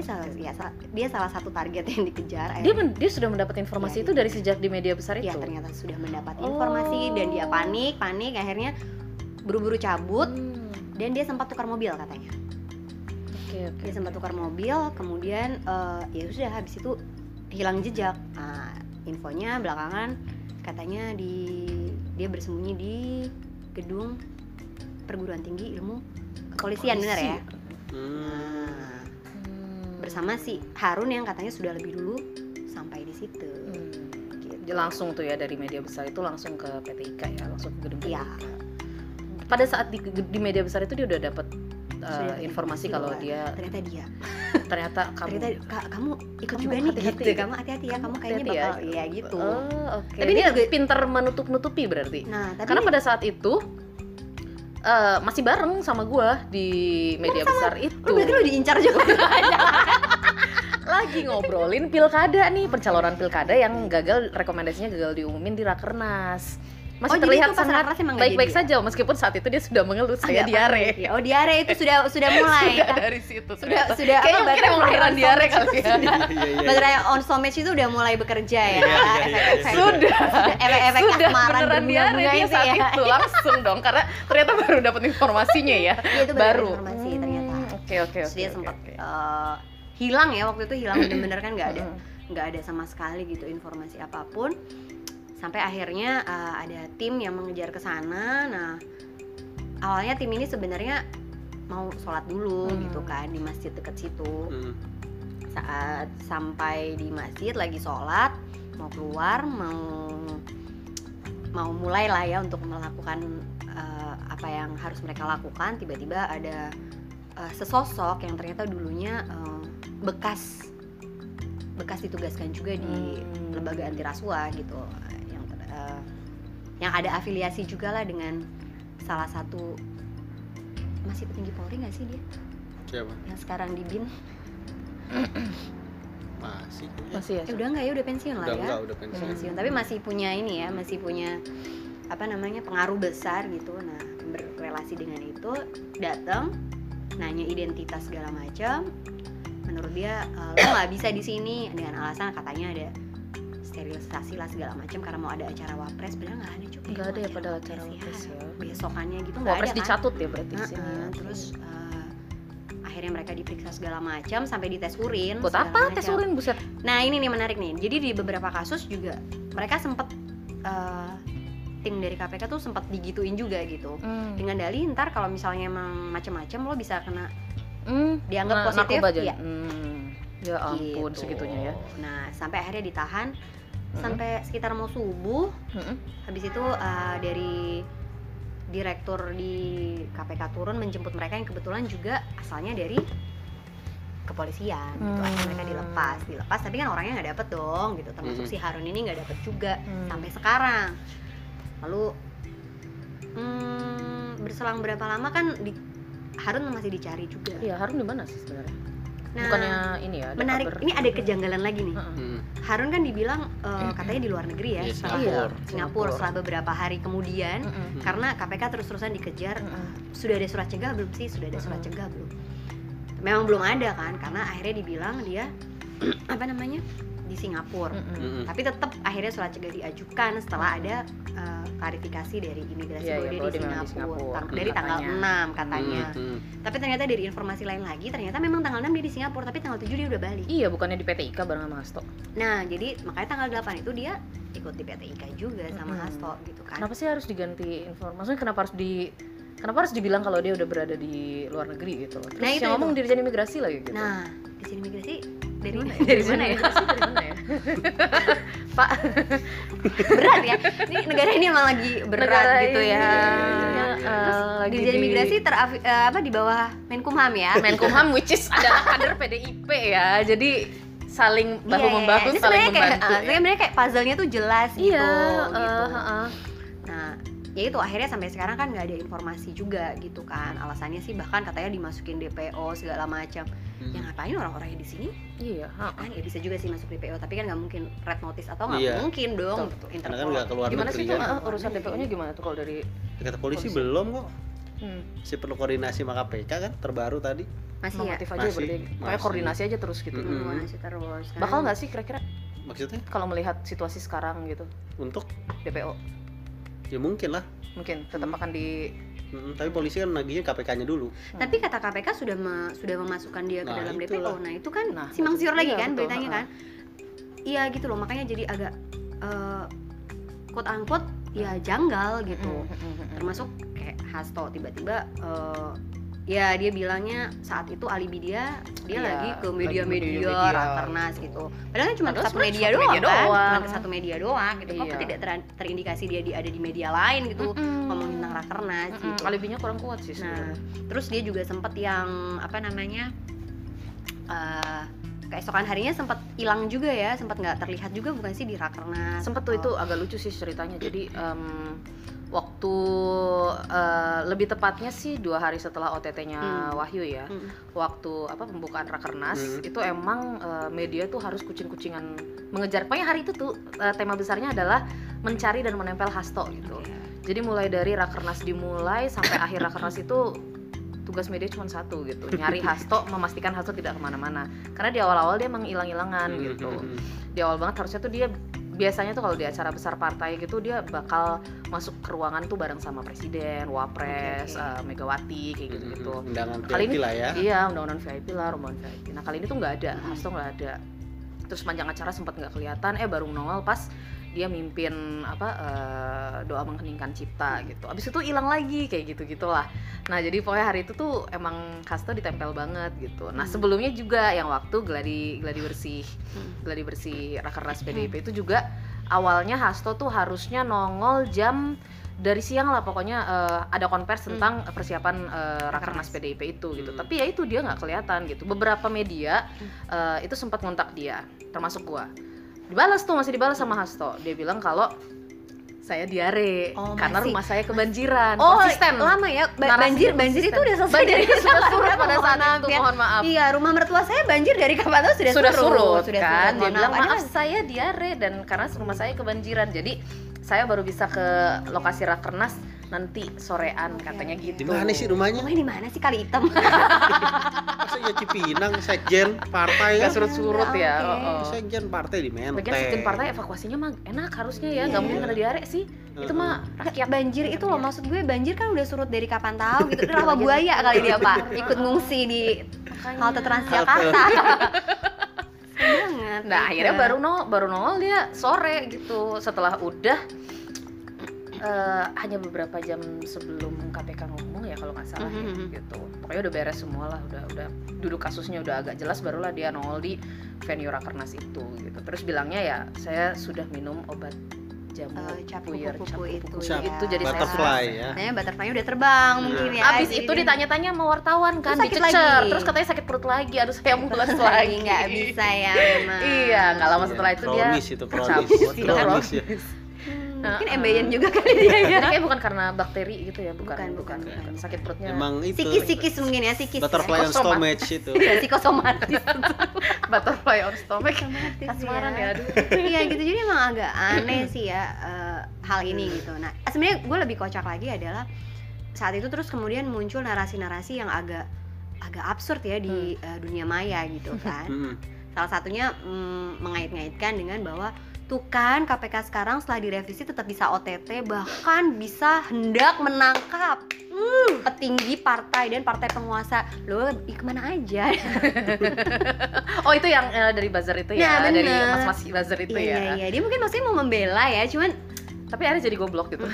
Speaker 1: dia salah, ya, sa- dia salah satu target yang dikejar
Speaker 2: dia,
Speaker 1: akhirnya
Speaker 2: men- dia sudah mendapat
Speaker 1: Ya,
Speaker 2: informasi itu
Speaker 1: dia-
Speaker 2: dari sejak di media besar itu.
Speaker 1: ya ternyata sudah mendapat
Speaker 2: Oh.
Speaker 1: informasi dan dia panik panik akhirnya buru-buru cabut
Speaker 2: Hmm.
Speaker 1: dan dia sempat tukar mobil katanya
Speaker 2: Oke oke.
Speaker 1: dia sempat tukar mobil kemudian eh, ya sudah habis itu hilang jejak Ah, infonya belakangan katanya di dia bersembunyi di gedung perguruan tinggi ilmu kepolisian benar ya
Speaker 3: mm.
Speaker 1: Nah,
Speaker 2: Hmm.
Speaker 1: bersama si Harun yang katanya sudah lebih dulu sampai di situ.
Speaker 2: Hmm.
Speaker 1: Gitu.
Speaker 2: Dia langsung tuh ya dari media besar itu langsung ke PTIK ya langsung ke gedung PTIK.
Speaker 1: Iya.
Speaker 2: Pada saat di, di media besar itu dia udah dapat
Speaker 1: Sudah dapat informasi
Speaker 2: eh, informasi kalau
Speaker 1: bahwa
Speaker 2: dia
Speaker 1: Gitu. Ternyata dia. *laughs*
Speaker 2: ternyata kamu
Speaker 1: Ternyata "Kak, kamu ikut
Speaker 2: Kamu
Speaker 1: juga nih
Speaker 2: hati-hati
Speaker 1: gitu.
Speaker 2: ya.
Speaker 1: Kamu hati-hati ya. Kamu kayaknya
Speaker 2: hati-hati ya,
Speaker 1: bakal iya gitu.
Speaker 2: Oh, oke.
Speaker 1: Tapi
Speaker 2: dia
Speaker 1: dia juga-
Speaker 2: pinter menutup-nutupi berarti.
Speaker 1: Nah, tapi
Speaker 2: Karena pada saat itu eh, masih bareng sama gua di media besar itu.
Speaker 1: lu berarti lu diincar juga.
Speaker 2: *laughs* Lagi ngobrolin pilkada nih, pencalonan pilkada yang gagal rekomendasinya gagal diumumin di rakernas.
Speaker 1: Oh,
Speaker 2: Masih
Speaker 1: jadi
Speaker 2: terlihat
Speaker 1: itu pas
Speaker 2: sangat
Speaker 1: rakernas emang nggak
Speaker 2: baik-baik
Speaker 1: jadi ya?
Speaker 2: saja meskipun saat itu dia sudah mengeluh saya
Speaker 1: Agak
Speaker 2: Ah, diare. Iya,
Speaker 1: panik ya. Oh, diare itu sudah
Speaker 2: *laughs*
Speaker 1: sudah mulai.
Speaker 2: Sudah dari situ
Speaker 1: sudah
Speaker 2: ternyata.
Speaker 1: sudah
Speaker 2: Kayaknya mungkin
Speaker 1: baterai
Speaker 2: emang beneran
Speaker 1: on
Speaker 2: diare
Speaker 1: stomach
Speaker 2: kali
Speaker 1: itu
Speaker 2: ya.
Speaker 1: sudah-
Speaker 3: *laughs* Iya, iya,
Speaker 1: Baterai on stomach itu udah mulai bekerja ya.
Speaker 3: Iya, iya, iya, iya.
Speaker 1: Efek-efek-
Speaker 2: Sudah.
Speaker 1: Efek-efek
Speaker 2: sudah
Speaker 1: asmaran
Speaker 2: beneran diare
Speaker 1: berbunga-bunga
Speaker 2: dia
Speaker 1: itu
Speaker 2: saat
Speaker 1: ya.
Speaker 2: itu *laughs* langsung dong karena ternyata baru dapat informasinya ya
Speaker 1: Iya, *laughs* itu beneran
Speaker 2: baru
Speaker 1: informasi ternyata.
Speaker 2: Hmm, oke oke
Speaker 1: Terus
Speaker 2: oke
Speaker 1: dia
Speaker 2: oke,
Speaker 1: sempat
Speaker 2: oke.
Speaker 1: eh, hilang ya waktu itu hilang bener-bener kan nggak ada
Speaker 2: Mm.
Speaker 1: nggak ada sama sekali gitu informasi apapun sampai akhirnya eh, ada tim yang mengejar ke sana nah awalnya tim ini sebenarnya mau sholat dulu
Speaker 2: Hmm.
Speaker 1: gitu kan di masjid dekat situ
Speaker 3: Mm.
Speaker 1: saat sampai di masjid lagi sholat mau keluar mau mau mulai lah ya untuk melakukan eh, apa yang harus mereka lakukan tiba-tiba ada eh, sesosok yang ternyata dulunya eh, bekas bekas ditugaskan juga di
Speaker 2: Hmm.
Speaker 1: lembaga anti rasuah gitu eh, yang ter- eh, yang ada afiliasi juga lah dengan salah satu masih petinggi polri nggak sih dia
Speaker 3: Siapa?
Speaker 1: yang sekarang di bin
Speaker 3: Masih.
Speaker 2: masih ya
Speaker 1: Eh, udah nggak ya udah pensiun lah
Speaker 3: Udah
Speaker 1: ya
Speaker 3: enggak, udah
Speaker 1: udah
Speaker 3: pensiun.
Speaker 1: pensiun tapi masih punya ini ya masih punya apa namanya pengaruh besar gitu nah berrelasi dengan itu datang nanya identitas segala macam menurut dia eh, lo nggak bisa di sini dengan alasan katanya ada sterilisasi lah segala macam karena mau ada acara wapres padahal nggak ada juga
Speaker 2: nggak ada ya pada acara
Speaker 1: wapres
Speaker 2: wapres ya
Speaker 1: besokannya gitu nggak ada
Speaker 2: wapres
Speaker 1: kan
Speaker 2: dicatut ya berarti di sini
Speaker 1: Heeh,
Speaker 2: ya.
Speaker 1: terus eh, akhirnya mereka diperiksa segala macam sampai dites urin
Speaker 2: Buat
Speaker 1: segala
Speaker 2: apa tes
Speaker 1: macam.
Speaker 2: urin buset?
Speaker 1: nah ini nih menarik nih jadi di beberapa kasus juga mereka sempat eh, tim dari KPK tuh sempat digituin juga gitu dengan dalih ntar kalau misalnya emang macam-macam lo bisa kena
Speaker 2: Hmm.
Speaker 1: dianggap
Speaker 2: Na-
Speaker 1: positif
Speaker 2: narkoba jadi.
Speaker 1: ya
Speaker 2: Hmm. Ya ampun
Speaker 1: Gitu.
Speaker 2: segitunya ya.
Speaker 1: nah sampai akhirnya ditahan
Speaker 2: Mm-mm.
Speaker 1: sampai sekitar mau subuh
Speaker 2: Mm-mm.
Speaker 1: habis itu eh, dari direktur di KPK turun menjemput mereka yang kebetulan juga asalnya dari kepolisian gitu
Speaker 2: Hmm.
Speaker 1: akhirnya mereka dilepas dilepas tapi kan orangnya nggak dapet dong gitu termasuk
Speaker 3: Hmm.
Speaker 1: si Harun ini nggak dapet juga
Speaker 2: Hmm.
Speaker 1: sampai sekarang lalu hmm, berselang berapa lama kan di, Harun masih dicari juga
Speaker 2: Iya, Harun di mana sih sebenarnya?
Speaker 1: nah
Speaker 2: Bukannya ini ya, ada
Speaker 1: menarik
Speaker 2: kabar-
Speaker 1: ini ada kejanggalan lagi nih
Speaker 2: Heeh.
Speaker 3: Hmm.
Speaker 1: Harun kan dibilang eh, katanya di luar negeri ya
Speaker 3: Iya,
Speaker 1: setelah
Speaker 2: Iya,
Speaker 3: Singapura.
Speaker 1: Singapura setelah beberapa hari kemudian
Speaker 2: Mm-mm.
Speaker 3: Hmm.
Speaker 1: karena KPK terus-terusan dikejar
Speaker 2: Mm-mm.
Speaker 1: sudah ada surat cegah belum sih sudah ada surat
Speaker 2: Mm-mm.
Speaker 1: cegah belum memang belum ada kan karena akhirnya dibilang dia *clears throat* apa namanya di Singapura
Speaker 2: Mm-mm.
Speaker 3: Mm-mm.
Speaker 1: tapi tetap akhirnya surat cegah diajukan setelah ada eh, klarifikasi dari imigrasi
Speaker 2: Iya,
Speaker 1: bahwa
Speaker 2: iya,
Speaker 1: dia
Speaker 2: bahwa
Speaker 1: di
Speaker 2: dia
Speaker 1: Singapura,
Speaker 2: memang di Singapura.
Speaker 1: Tang-
Speaker 2: Hmm,
Speaker 1: dari tanggal
Speaker 2: katanya.
Speaker 1: 6 katanya
Speaker 3: Hmm.
Speaker 1: tapi ternyata dari informasi lain lagi ternyata memang tanggal 6 dia di Singapura tapi tanggal 7 dia udah balik
Speaker 2: Iya, bukannya di PT IKA bareng sama Hasto.
Speaker 1: nah jadi makanya tanggal 8 itu dia ikut di PT IKA juga sama
Speaker 2: Mm-mm.
Speaker 1: Hasto gitu kan
Speaker 2: Hmm. Kenapa sih harus diganti informasi? Maksudnya kenapa harus di kenapa harus dibilang kalau dia udah berada di luar negeri gitu? Terus
Speaker 1: Nah, itu-
Speaker 2: yang
Speaker 1: itu.
Speaker 2: ngomong dirjen imigrasi lagi gitu.
Speaker 1: nah di sini imigrasi dari
Speaker 2: *laughs* Dari mana
Speaker 1: *laughs* dari mana ya
Speaker 2: ya? Imigrasi dari mana ya? Pak,
Speaker 1: berat ya ini negara ini emang lagi berat
Speaker 2: negara
Speaker 1: gitu
Speaker 2: ini,
Speaker 1: ya
Speaker 2: ya,
Speaker 3: Iya.
Speaker 2: eh, lagi
Speaker 1: dirjen imigrasi teraf- eh, apa di bawah Menkumham ya
Speaker 2: Menkumham which is adalah kader PDIP ya. Jadi saling
Speaker 1: Iya,
Speaker 2: bahu
Speaker 1: iya,
Speaker 2: membahu,
Speaker 1: iya. Ini
Speaker 2: saling
Speaker 1: sebenarnya kayak,
Speaker 2: membantu.
Speaker 1: eh, sebenarnya kayak puzzle-nya tuh jelas gitu,
Speaker 2: Iya,
Speaker 1: gitu.
Speaker 2: eh, eh, eh.
Speaker 1: nah ya itu akhirnya sampai sekarang kan nggak ada informasi juga gitu kan alasannya sih bahkan katanya dimasukin DPO segala macam ya ngapain orang-orangnya di sini
Speaker 2: Iya, eh, eh.
Speaker 1: kan ya bisa juga sih masuk DPO tapi kan nggak mungkin red notice atau nggak
Speaker 3: Iya.
Speaker 1: mungkin dong gitu,
Speaker 2: Betul,
Speaker 1: Interpol.
Speaker 3: Karena kan nggak keluar
Speaker 2: Gimana sih
Speaker 3: negeri
Speaker 2: tuh
Speaker 3: kan.
Speaker 2: eh, eh, urusan DPO-nya gimana tuh kalau dari
Speaker 3: Kata polisi
Speaker 2: Polisi.
Speaker 3: belum kok.
Speaker 2: hmm,
Speaker 3: Si perlu koordinasi sama KPK kan terbaru tadi.
Speaker 1: masih ya
Speaker 2: normatif aja
Speaker 3: Masih,
Speaker 2: berarti. Pokoknya
Speaker 3: masih.
Speaker 2: koordinasi aja terus gitu.
Speaker 3: Mm-mm.
Speaker 1: Hmm, masih terus kan.
Speaker 2: Bakal nggak sih kira-kira
Speaker 3: Maksudnya
Speaker 2: kalau melihat situasi sekarang gitu
Speaker 3: untuk
Speaker 2: DPO
Speaker 3: ya mungkin lah.
Speaker 2: mungkin tetap akan di
Speaker 3: Mm, tapi polisi kan nagihnya KPK-nya dulu.
Speaker 2: Hmm.
Speaker 1: Tapi kata KPK sudah me- sudah memasukkan dia ke
Speaker 3: Nah,
Speaker 1: dalam DPO.
Speaker 3: itulah.
Speaker 1: Nah, itu kan
Speaker 2: Nah,
Speaker 1: simang siur lagi
Speaker 2: iya,
Speaker 1: kan
Speaker 2: betul.
Speaker 1: beritanya
Speaker 2: Ha-ha.
Speaker 1: kan. Iya gitu loh, makanya jadi agak eh quote unquote ya
Speaker 2: Nah.
Speaker 1: janggal gitu.
Speaker 2: Mm, mm, mm, mm.
Speaker 1: Termasuk kayak Hasto tiba-tiba eh, ya dia bilangnya saat itu alibi dia dia
Speaker 2: Iya,
Speaker 1: lagi ke
Speaker 2: lagi
Speaker 1: media-media,
Speaker 2: media-media,
Speaker 1: rakernas
Speaker 2: gitu.
Speaker 1: gitu. Padahal kan cuma ke
Speaker 2: Padahal
Speaker 1: satu
Speaker 2: sebenarnya
Speaker 1: media
Speaker 2: satu
Speaker 1: doang,
Speaker 2: media
Speaker 1: kan,
Speaker 2: doang.
Speaker 1: cuma ke satu media doang gitu. Kok
Speaker 2: Iya. Hmm.
Speaker 1: tidak ter- terindikasi dia di- ada di media lain gitu
Speaker 2: Mm-mm.
Speaker 1: ngomongin tentang rakernas
Speaker 2: Mm-mm.
Speaker 1: gitu.
Speaker 2: alibinya kurang kuat sih
Speaker 1: Nah,
Speaker 2: sebenarnya.
Speaker 1: terus dia juga sempat yang apa namanya eh, keesokan harinya sempat hilang juga ya, sempat nggak terlihat juga bukan sih di rakernas?
Speaker 2: sempet tuh itu
Speaker 1: atau-
Speaker 2: agak lucu sih ceritanya jadi em, waktu eh, lebih tepatnya sih dua hari setelah OTT-nya
Speaker 1: Hmm.
Speaker 2: Wahyu ya
Speaker 1: Mm.
Speaker 2: waktu apa pembukaan rakernas
Speaker 3: Hmm.
Speaker 2: itu emang eh, media tuh harus kucing-kucingan mengejar pokoknya hari itu tuh eh, tema besarnya adalah mencari dan menempel Hasto gitu
Speaker 1: Iya.
Speaker 2: Jadi mulai dari rakernas dimulai sampai akhir rakernas itu tugas media cuma satu gitu, nyari
Speaker 1: *laughs*
Speaker 2: Hasto, memastikan Hasto tidak kemana-mana. Karena di awal-awal dia emang hilang-hilangan
Speaker 1: Hmm,
Speaker 2: gitu.
Speaker 3: Mm,
Speaker 2: Di awal banget harusnya tuh dia biasanya tuh kalau di acara besar partai gitu dia bakal masuk ke ruangan tuh bareng sama presiden,
Speaker 1: Oke, Hmm,
Speaker 2: wapres,
Speaker 1: oke.
Speaker 2: eh, Megawati kayak
Speaker 3: mm,
Speaker 2: gitu-gitu.
Speaker 3: mm, Undangan
Speaker 2: Kali
Speaker 3: VIP
Speaker 2: ini-
Speaker 3: lah ya.
Speaker 2: Iya, undang-undang VIP lah, rumah VIP. Nah kali ini tuh nggak ada,
Speaker 1: Mhm.
Speaker 2: Hasto nggak ada. Terus panjang acara sempat nggak kelihatan, eh baru nongol pas dia mimpin apa eh, doa mengheningkan cipta gitu. Abis itu hilang lagi kayak gitu gitulah. Nah jadi pokoknya hari itu tuh emang Hasto ditempel banget gitu. Nah
Speaker 1: Mhm.
Speaker 2: sebelumnya juga yang waktu gladi gladi bersih,
Speaker 1: Mhm.
Speaker 2: gladi bersih rakernas PDIP itu juga awalnya Hasto tuh harusnya nongol jam dari siang lah pokoknya eh, ada konvers tentang persiapan eh, rakernas
Speaker 1: Rakernas.
Speaker 2: PDIP itu gitu
Speaker 3: Hmm.
Speaker 2: tapi ya itu dia nggak kelihatan gitu beberapa media
Speaker 1: Hmm.
Speaker 2: eh, itu sempat ngontak dia termasuk gua dibalas tuh masih dibalas sama Hasto dia bilang kalau saya diare
Speaker 1: Oh,
Speaker 2: karena
Speaker 1: masih-
Speaker 2: rumah saya kebanjiran
Speaker 1: Oh,
Speaker 2: konsisten
Speaker 1: lama ya. Ba-
Speaker 2: Narasinya
Speaker 1: banjir, banjir
Speaker 2: konsisten.
Speaker 1: itu udah selesai
Speaker 2: banjir
Speaker 1: dari
Speaker 2: itu sudah
Speaker 1: kapan?
Speaker 2: surut
Speaker 1: *laughs* Mohon
Speaker 2: pada saat
Speaker 1: maaf
Speaker 2: itu
Speaker 1: ya.
Speaker 2: mohon maaf
Speaker 1: Iya, rumah mertua saya banjir dari kapan tuh sudah,
Speaker 2: sudah surut,
Speaker 1: Sudah
Speaker 2: kan
Speaker 1: surut.
Speaker 2: dia
Speaker 1: Mohon
Speaker 2: bilang
Speaker 1: Ada
Speaker 2: maaf
Speaker 1: kan?
Speaker 2: saya diare dan karena rumah saya kebanjiran jadi saya baru bisa ke lokasi rakernas nanti sorean
Speaker 1: Oke,
Speaker 2: katanya
Speaker 1: oke.
Speaker 2: gitu
Speaker 3: Di mana sih rumahnya?
Speaker 1: Rumahnya di mana sih kali hitam?
Speaker 3: Masa ya Cipinang, sekjen partai
Speaker 2: Nggak
Speaker 3: kan?
Speaker 2: surut-surut ya
Speaker 1: Iya, Oke.
Speaker 2: oh, oh.
Speaker 3: Sekjen partai di Menteng.
Speaker 2: Lagian sekjen partai evakuasinya mah enak harusnya
Speaker 1: Iya.
Speaker 2: ya, nggak mungkin ada diare sih. Itu
Speaker 3: Heeh.
Speaker 2: mah rakyat
Speaker 1: Nah, ya banjir itu loh maksud gue banjir kan udah surut dari kapan tahu gitu. Rawa
Speaker 2: Iya,
Speaker 1: buaya
Speaker 2: iya.
Speaker 1: kali dia, Pak. Ikut ngungsi di
Speaker 2: makanya.
Speaker 1: halte
Speaker 3: Halte.
Speaker 1: Transjakarta Sedih banget
Speaker 2: Nah akhirnya
Speaker 1: Iya.
Speaker 2: baru nol baru nol dia sore gitu setelah udah eh, hanya beberapa jam sebelum KPK ngomong ya kalau nggak salah ya,
Speaker 1: Mhm.
Speaker 2: gitu pokoknya udah beres semua lah udah udah duduk kasusnya udah agak jelas barulah dia nol di venue rakernas itu gitu terus bilangnya ya saya sudah minum obat jamu
Speaker 1: Eh, cap
Speaker 2: puyar,
Speaker 1: kupu-kupu
Speaker 2: cap
Speaker 1: itu
Speaker 2: kupu-kupu
Speaker 3: ya.
Speaker 2: itu jadi saya
Speaker 3: Butterfly ya.
Speaker 1: Kayaknya butterfly udah terbang
Speaker 3: Iya.
Speaker 1: mungkin ya
Speaker 2: Abis
Speaker 1: jadi
Speaker 2: itu
Speaker 1: dia-
Speaker 2: ditanya-tanya sama wartawan kan,
Speaker 1: Terus sakit
Speaker 2: dicecer,
Speaker 1: lagi.
Speaker 2: terus katanya sakit perut lagi, aduh saya
Speaker 1: *laughs*
Speaker 2: mules
Speaker 1: Terus
Speaker 2: lagi.
Speaker 1: nggak bisa ya memang
Speaker 2: Iya, nggak lama setelah itu dia
Speaker 3: kronis itu kronis
Speaker 2: cabut.
Speaker 1: Iya,
Speaker 3: kronis ya
Speaker 1: Hmm,
Speaker 2: Nah,
Speaker 1: mungkin
Speaker 2: eh.
Speaker 1: ambeien juga kali dia
Speaker 2: Ini
Speaker 1: ya
Speaker 2: kayaknya bukan karena bakteri gitu ya, bukan,
Speaker 1: Bukan,
Speaker 2: bukan,
Speaker 1: bukan,
Speaker 2: bukan.
Speaker 1: bukan.
Speaker 2: sakit perutnya.
Speaker 3: emang itu
Speaker 1: sikis-sikis mungkin ya sikis
Speaker 3: Gitu. butterfly on
Speaker 2: Psikosomat.
Speaker 3: stomach itu
Speaker 1: ya. psikosomatis
Speaker 2: *laughs* butterfly on stomach.
Speaker 1: Psikosomatis
Speaker 2: Kasmaran ya, aduh.
Speaker 1: iya gitu jadi emang agak aneh sih ya eh, hal ini gitu nah sebenarnya gue lebih kocak lagi adalah saat itu terus kemudian muncul narasi-narasi yang agak agak absurd ya di eh, dunia maya gitu kan
Speaker 3: Mm-mm.
Speaker 1: salah satunya mm, mengait-ngaitkan dengan bahwa tuh kan KPK sekarang setelah direvisi tetap bisa OTT bahkan bisa hendak menangkap hmm, petinggi partai dan partai penguasa lo kemana aja
Speaker 2: Oh itu yang eh, dari buzzer itu ya,
Speaker 1: Nah,
Speaker 2: dari
Speaker 1: bener.
Speaker 2: mas-mas buzzer itu
Speaker 1: iya
Speaker 2: ya.
Speaker 1: iya dia mungkin maksudnya mau membela ya cuman
Speaker 2: Tapi akhirnya jadi goblok gitu.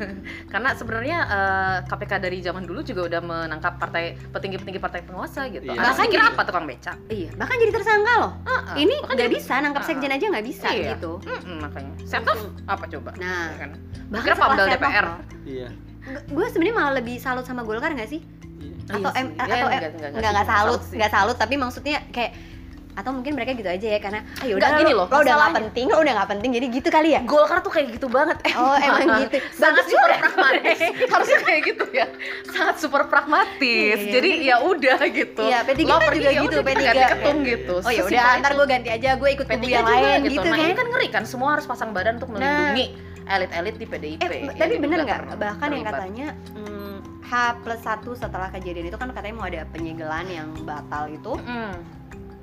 Speaker 2: *laughs* karena sebenarnya eh, KPK dari zaman dulu juga udah menangkap partai petinggi-petinggi partai penguasa gitu.
Speaker 3: Iya.
Speaker 2: Nah,
Speaker 1: Bahkan
Speaker 2: saya kira
Speaker 1: jadi-
Speaker 2: apa tukang becak?
Speaker 1: iya bahkan jadi tersangka loh
Speaker 2: Ah, ah.
Speaker 1: ini
Speaker 2: Bahkan
Speaker 1: nggak
Speaker 2: jadi-
Speaker 1: bisa nangkap
Speaker 2: Ah,
Speaker 1: sekjen aja nggak bisa
Speaker 2: Iya.
Speaker 1: gitu
Speaker 2: Mm-mm, makanya. Setnov apa coba?
Speaker 1: Iya. Nah.
Speaker 2: Ya kan?
Speaker 1: bahkan
Speaker 2: Kira Pamdal
Speaker 1: setelah
Speaker 2: DPR.
Speaker 3: iya
Speaker 1: gue sebenarnya malah lebih salut sama Golkar nggak sih
Speaker 3: Iya.
Speaker 1: Atau
Speaker 2: Iya
Speaker 1: em-
Speaker 2: sih.
Speaker 1: atau
Speaker 2: Ya,
Speaker 1: em-
Speaker 2: enggak, enggak,
Speaker 1: nggak nggak salut nggak salut tapi maksudnya kayak atau mungkin mereka gitu aja ya karena ayo udah
Speaker 2: Nggak, Ah, gini loh,
Speaker 1: lo udah nggak
Speaker 2: masalahnya.
Speaker 1: penting lo udah nggak penting jadi gitu kali ya
Speaker 2: Golkar tuh kayak gitu banget. *laughs*
Speaker 1: oh emang gitu
Speaker 2: sangat
Speaker 1: Bagus
Speaker 2: super
Speaker 1: juga.
Speaker 2: pragmatis *laughs* harusnya kayak gitu ya sangat super pragmatis
Speaker 1: Iya, iya,
Speaker 2: jadi ya udah gitu
Speaker 1: Iya, P3
Speaker 2: Lo
Speaker 1: kan
Speaker 2: pergi,
Speaker 1: juga
Speaker 2: ya
Speaker 1: gitu,
Speaker 2: udah, kita
Speaker 1: P3.
Speaker 2: ganti ketum
Speaker 3: Iya, iya.
Speaker 2: gitu
Speaker 1: oh ya
Speaker 2: Sesimpel
Speaker 1: udah ntar
Speaker 2: itu.
Speaker 1: gue ganti aja gue ikut
Speaker 2: P3
Speaker 1: kubu yang
Speaker 2: juga
Speaker 1: lain gitu,
Speaker 2: nah,
Speaker 1: kan
Speaker 2: ini kan ngeri kan semua harus pasang badan untuk melindungi elit-elit di PDIP
Speaker 1: eh
Speaker 2: yang
Speaker 1: tapi
Speaker 2: diduga
Speaker 1: bener nggak
Speaker 2: ter-
Speaker 1: bahkan yang
Speaker 2: gitu, terlibat.
Speaker 1: katanya hmm, H plus satu setelah kejadian itu kan katanya mau ada penyegelan yang batal itu
Speaker 2: Mm.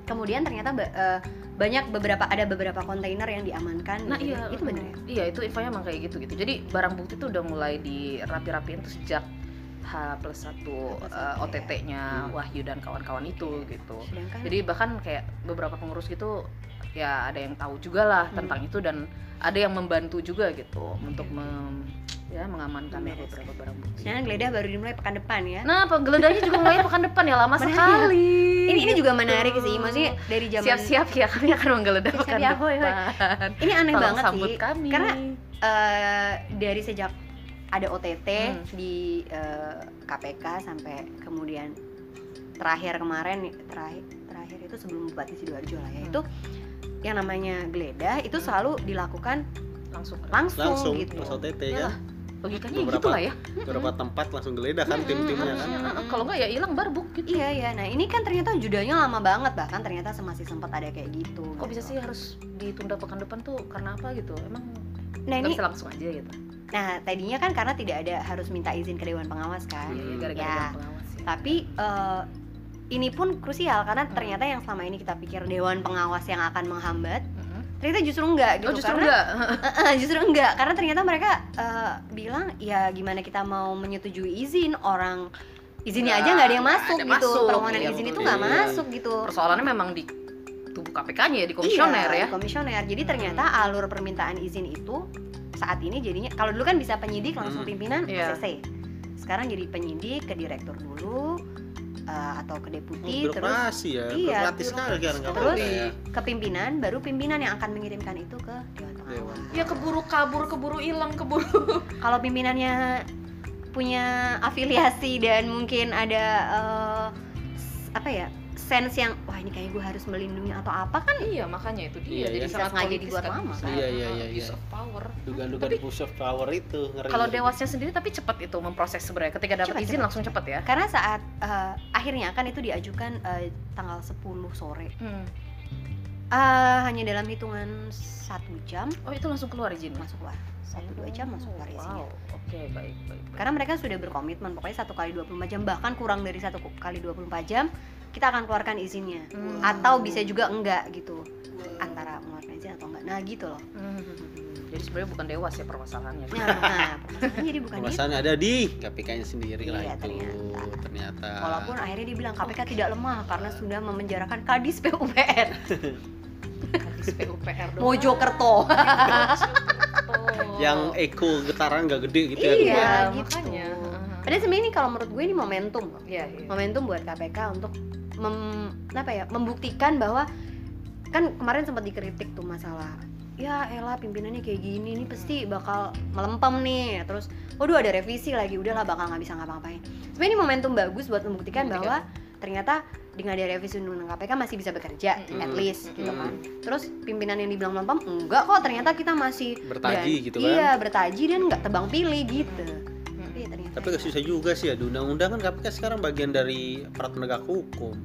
Speaker 1: kemudian ternyata ba- eh, banyak beberapa ada beberapa kontainer yang diamankan
Speaker 2: Nah
Speaker 1: gitu.
Speaker 2: iya
Speaker 1: itu bener ya
Speaker 2: mm, Iya itu infonya emang kayak gitu gitu. Jadi barang bukti tuh udah mulai dirapi-rapiin tuh sejak H plus satu
Speaker 1: H+1,
Speaker 2: eh,
Speaker 1: ya.
Speaker 2: OTT-nya
Speaker 3: Hmm.
Speaker 2: Wahyu dan kawan-kawan itu gitu.
Speaker 1: sedangkan
Speaker 2: Jadi bahkan kayak beberapa pengurus gitu ya ada yang tahu juga lah
Speaker 1: Hmm.
Speaker 2: tentang itu dan ada yang membantu juga gitu untuk mem- ya mengamankan
Speaker 1: Membereskan.
Speaker 2: beberapa barang bukti.
Speaker 1: sedangkan geledah baru dimulai pekan depan ya
Speaker 2: Nah, penggeledahannya juga mulai pekan depan ya lama
Speaker 1: Menarik.
Speaker 2: sekali.
Speaker 1: ini ini juga menarik sih maksudnya dari zaman
Speaker 2: iya. Oh, siap-siap ya kami akan menggeledah
Speaker 1: Siap-siap
Speaker 2: pekan
Speaker 1: ya, hoi, hoi.
Speaker 2: depan.
Speaker 1: ini aneh
Speaker 2: Tolong
Speaker 1: banget
Speaker 2: sambut
Speaker 1: sih
Speaker 2: kami.
Speaker 1: Karena- Eh, dari sejak ada OTT
Speaker 2: Hmm.
Speaker 1: di eh, KPK sampai kemudian terakhir kemarin terakhir terakhir itu sebelum Bupati sidoarjo lah ya
Speaker 2: Hmm.
Speaker 1: itu yang namanya geledah itu
Speaker 2: Hmm.
Speaker 1: selalu dilakukan
Speaker 2: langsung
Speaker 1: langsung,
Speaker 3: langsung
Speaker 1: gitu
Speaker 3: pas OTT
Speaker 2: Oh, Iya
Speaker 3: kan
Speaker 2: lah, logikanya
Speaker 3: Beberapa-
Speaker 2: gitu lah ya
Speaker 3: beberapa tempat langsung geledah kan
Speaker 2: Mm-mm,
Speaker 3: tim-timnya kan
Speaker 2: harusnya.
Speaker 1: kan?
Speaker 2: Mm-mm, kalau nggak ya hilang barbuk gitu
Speaker 1: Iya ya, nah ini kan ternyata judanya lama banget bahkan ternyata masih sempat ada kayak gitu.
Speaker 2: kok
Speaker 1: gitu.
Speaker 2: bisa sih harus ditunda pekan depan tuh karena apa gitu emang
Speaker 1: Nah
Speaker 2: nggak
Speaker 1: ini,
Speaker 2: bisa langsung aja gitu
Speaker 1: nah tadinya kan karena tidak ada harus minta izin ke dewan pengawas kan.
Speaker 2: Iya, iya,
Speaker 3: Hmm.
Speaker 2: gara-gara
Speaker 1: Ya.
Speaker 2: dewan pengawas sih.
Speaker 1: Tapi eh, ini pun krusial karena
Speaker 2: Hmm.
Speaker 1: ternyata yang selama ini kita pikir dewan pengawas yang akan menghambat,
Speaker 2: Mm-mm.
Speaker 1: ternyata justru enggak gitu
Speaker 2: Mm-hmm. oh justru
Speaker 1: karena
Speaker 2: enggak
Speaker 1: Eh, *laughs* justru enggak karena ternyata mereka eh, bilang ya gimana kita mau menyetujui izin orang izinnya aja
Speaker 2: Nggak-
Speaker 1: nggak ada yang
Speaker 2: nggak
Speaker 1: masuk
Speaker 2: ada
Speaker 1: gitu.
Speaker 2: masuk,
Speaker 1: Permohonan
Speaker 2: iya,
Speaker 1: izin itu
Speaker 3: betul.
Speaker 1: nggak
Speaker 3: Iya.
Speaker 1: masuk gitu.
Speaker 2: persoalannya memang di tubuh KPK-nya ya di komisioner
Speaker 1: Iya,
Speaker 2: ya
Speaker 1: di komisioner. Jadi ternyata alur permintaan izin itu saat ini jadinya kalau dulu kan bisa penyidik langsung
Speaker 3: Hmm.
Speaker 1: pimpinan
Speaker 2: Iya.
Speaker 1: ACC. Sekarang jadi penyidik ke direktur dulu eh, atau ke deputi terus
Speaker 3: birokrasi Oh, ya
Speaker 1: Iya,
Speaker 3: birokratis sekali kan nggak
Speaker 1: terus-
Speaker 3: boleh ya.
Speaker 1: ke pimpinan, baru pimpinan yang akan mengirimkan itu ke dewan pengawas. Iya,
Speaker 2: ya keburu kabur keburu hilang keburu
Speaker 1: Kalau pimpinannya punya afiliasi dan mungkin ada eh, s- apa ya? sense yang wah ini kayak gue harus melindungi atau apa kan
Speaker 2: iya makanya itu
Speaker 3: Iya,
Speaker 2: dia jadi
Speaker 3: iya.
Speaker 1: Bisa
Speaker 2: sangat
Speaker 1: sengaja
Speaker 2: politis
Speaker 1: dibuat
Speaker 2: kan.
Speaker 1: lama, kan?
Speaker 3: Iya, iya, iya,
Speaker 2: Abuse
Speaker 3: iya.
Speaker 2: of power
Speaker 3: dugaan-dugaan
Speaker 2: Tapi-
Speaker 3: push of power itu ngeri
Speaker 2: kalau dewasnya sendiri tapi cepat itu memproses sebenarnya ketika dapat
Speaker 1: Cepat,
Speaker 2: izin
Speaker 1: cepat.
Speaker 2: langsung cepat ya
Speaker 1: karena saat eh, akhirnya kan itu diajukan eh, tanggal 10 sore
Speaker 2: Hmm.
Speaker 1: Ah, hanya dalam hitungan satu jam
Speaker 2: oh itu langsung keluar izinnya
Speaker 1: masuk keluar satu dua jam masuk keluar isinya
Speaker 2: Wow, oke baik baik. baik.
Speaker 1: karena mereka sudah berkomitmen pokoknya satu kali 24 jam bahkan kurang dari satu kali 24 jam kita akan keluarkan izinnya
Speaker 2: Hmm.
Speaker 1: atau bisa juga enggak gitu antara mengeluarkan izin atau enggak nah gitu loh
Speaker 2: Hmm. Jadi sebenarnya bukan dewas
Speaker 3: *laughs*
Speaker 2: ya permasalahannya.
Speaker 1: nah, nah permasalahannya jadi bukan itu
Speaker 3: Permasalahan ada di KPK-nya sendiri lah
Speaker 1: Iya,
Speaker 3: itu
Speaker 1: ternyata.
Speaker 3: ternyata.
Speaker 1: Walaupun akhirnya dia bilang KPK tidak lemah karena sudah memenjarakan Kadis PUPR
Speaker 2: Habis PUPR doang.
Speaker 1: Mojokerto.
Speaker 2: Mojokerto.
Speaker 3: yang eh, echo getaran nggak gede gitu ya.
Speaker 1: Iya,
Speaker 2: Iya,
Speaker 1: gitu.
Speaker 2: makanya.
Speaker 1: Padahal sebenarnya ini kalau menurut gue ini momentum loh.
Speaker 2: Iya, iya.
Speaker 1: Momentum buat KPK untuk mem, apa ya, membuktikan bahwa kan kemarin sempat dikritik tuh masalah ya elah pimpinannya kayak gini ini pasti bakal melempem nih terus waduh ada revisi lagi udahlah bakal nggak bisa ngapa-ngapain sebenarnya ini momentum bagus buat membuktikan,
Speaker 2: Membuktikan.
Speaker 1: bahwa ternyata dengan ada revisi undang-undang KPK masih bisa bekerja
Speaker 2: Mm-mm.
Speaker 1: at least gitu
Speaker 3: Mm-mm.
Speaker 1: kan terus pimpinan yang dibilang melempem enggak kok ternyata kita masih
Speaker 3: Bertaji
Speaker 1: dan-
Speaker 3: gitu kan.
Speaker 1: iya bertaji dan nggak tebang pilih gitu Iya, ternyata
Speaker 3: Tapi nggak susah juga sih ya. Di undang-undang kan KPK sekarang bagian dari aparat penegak hukum,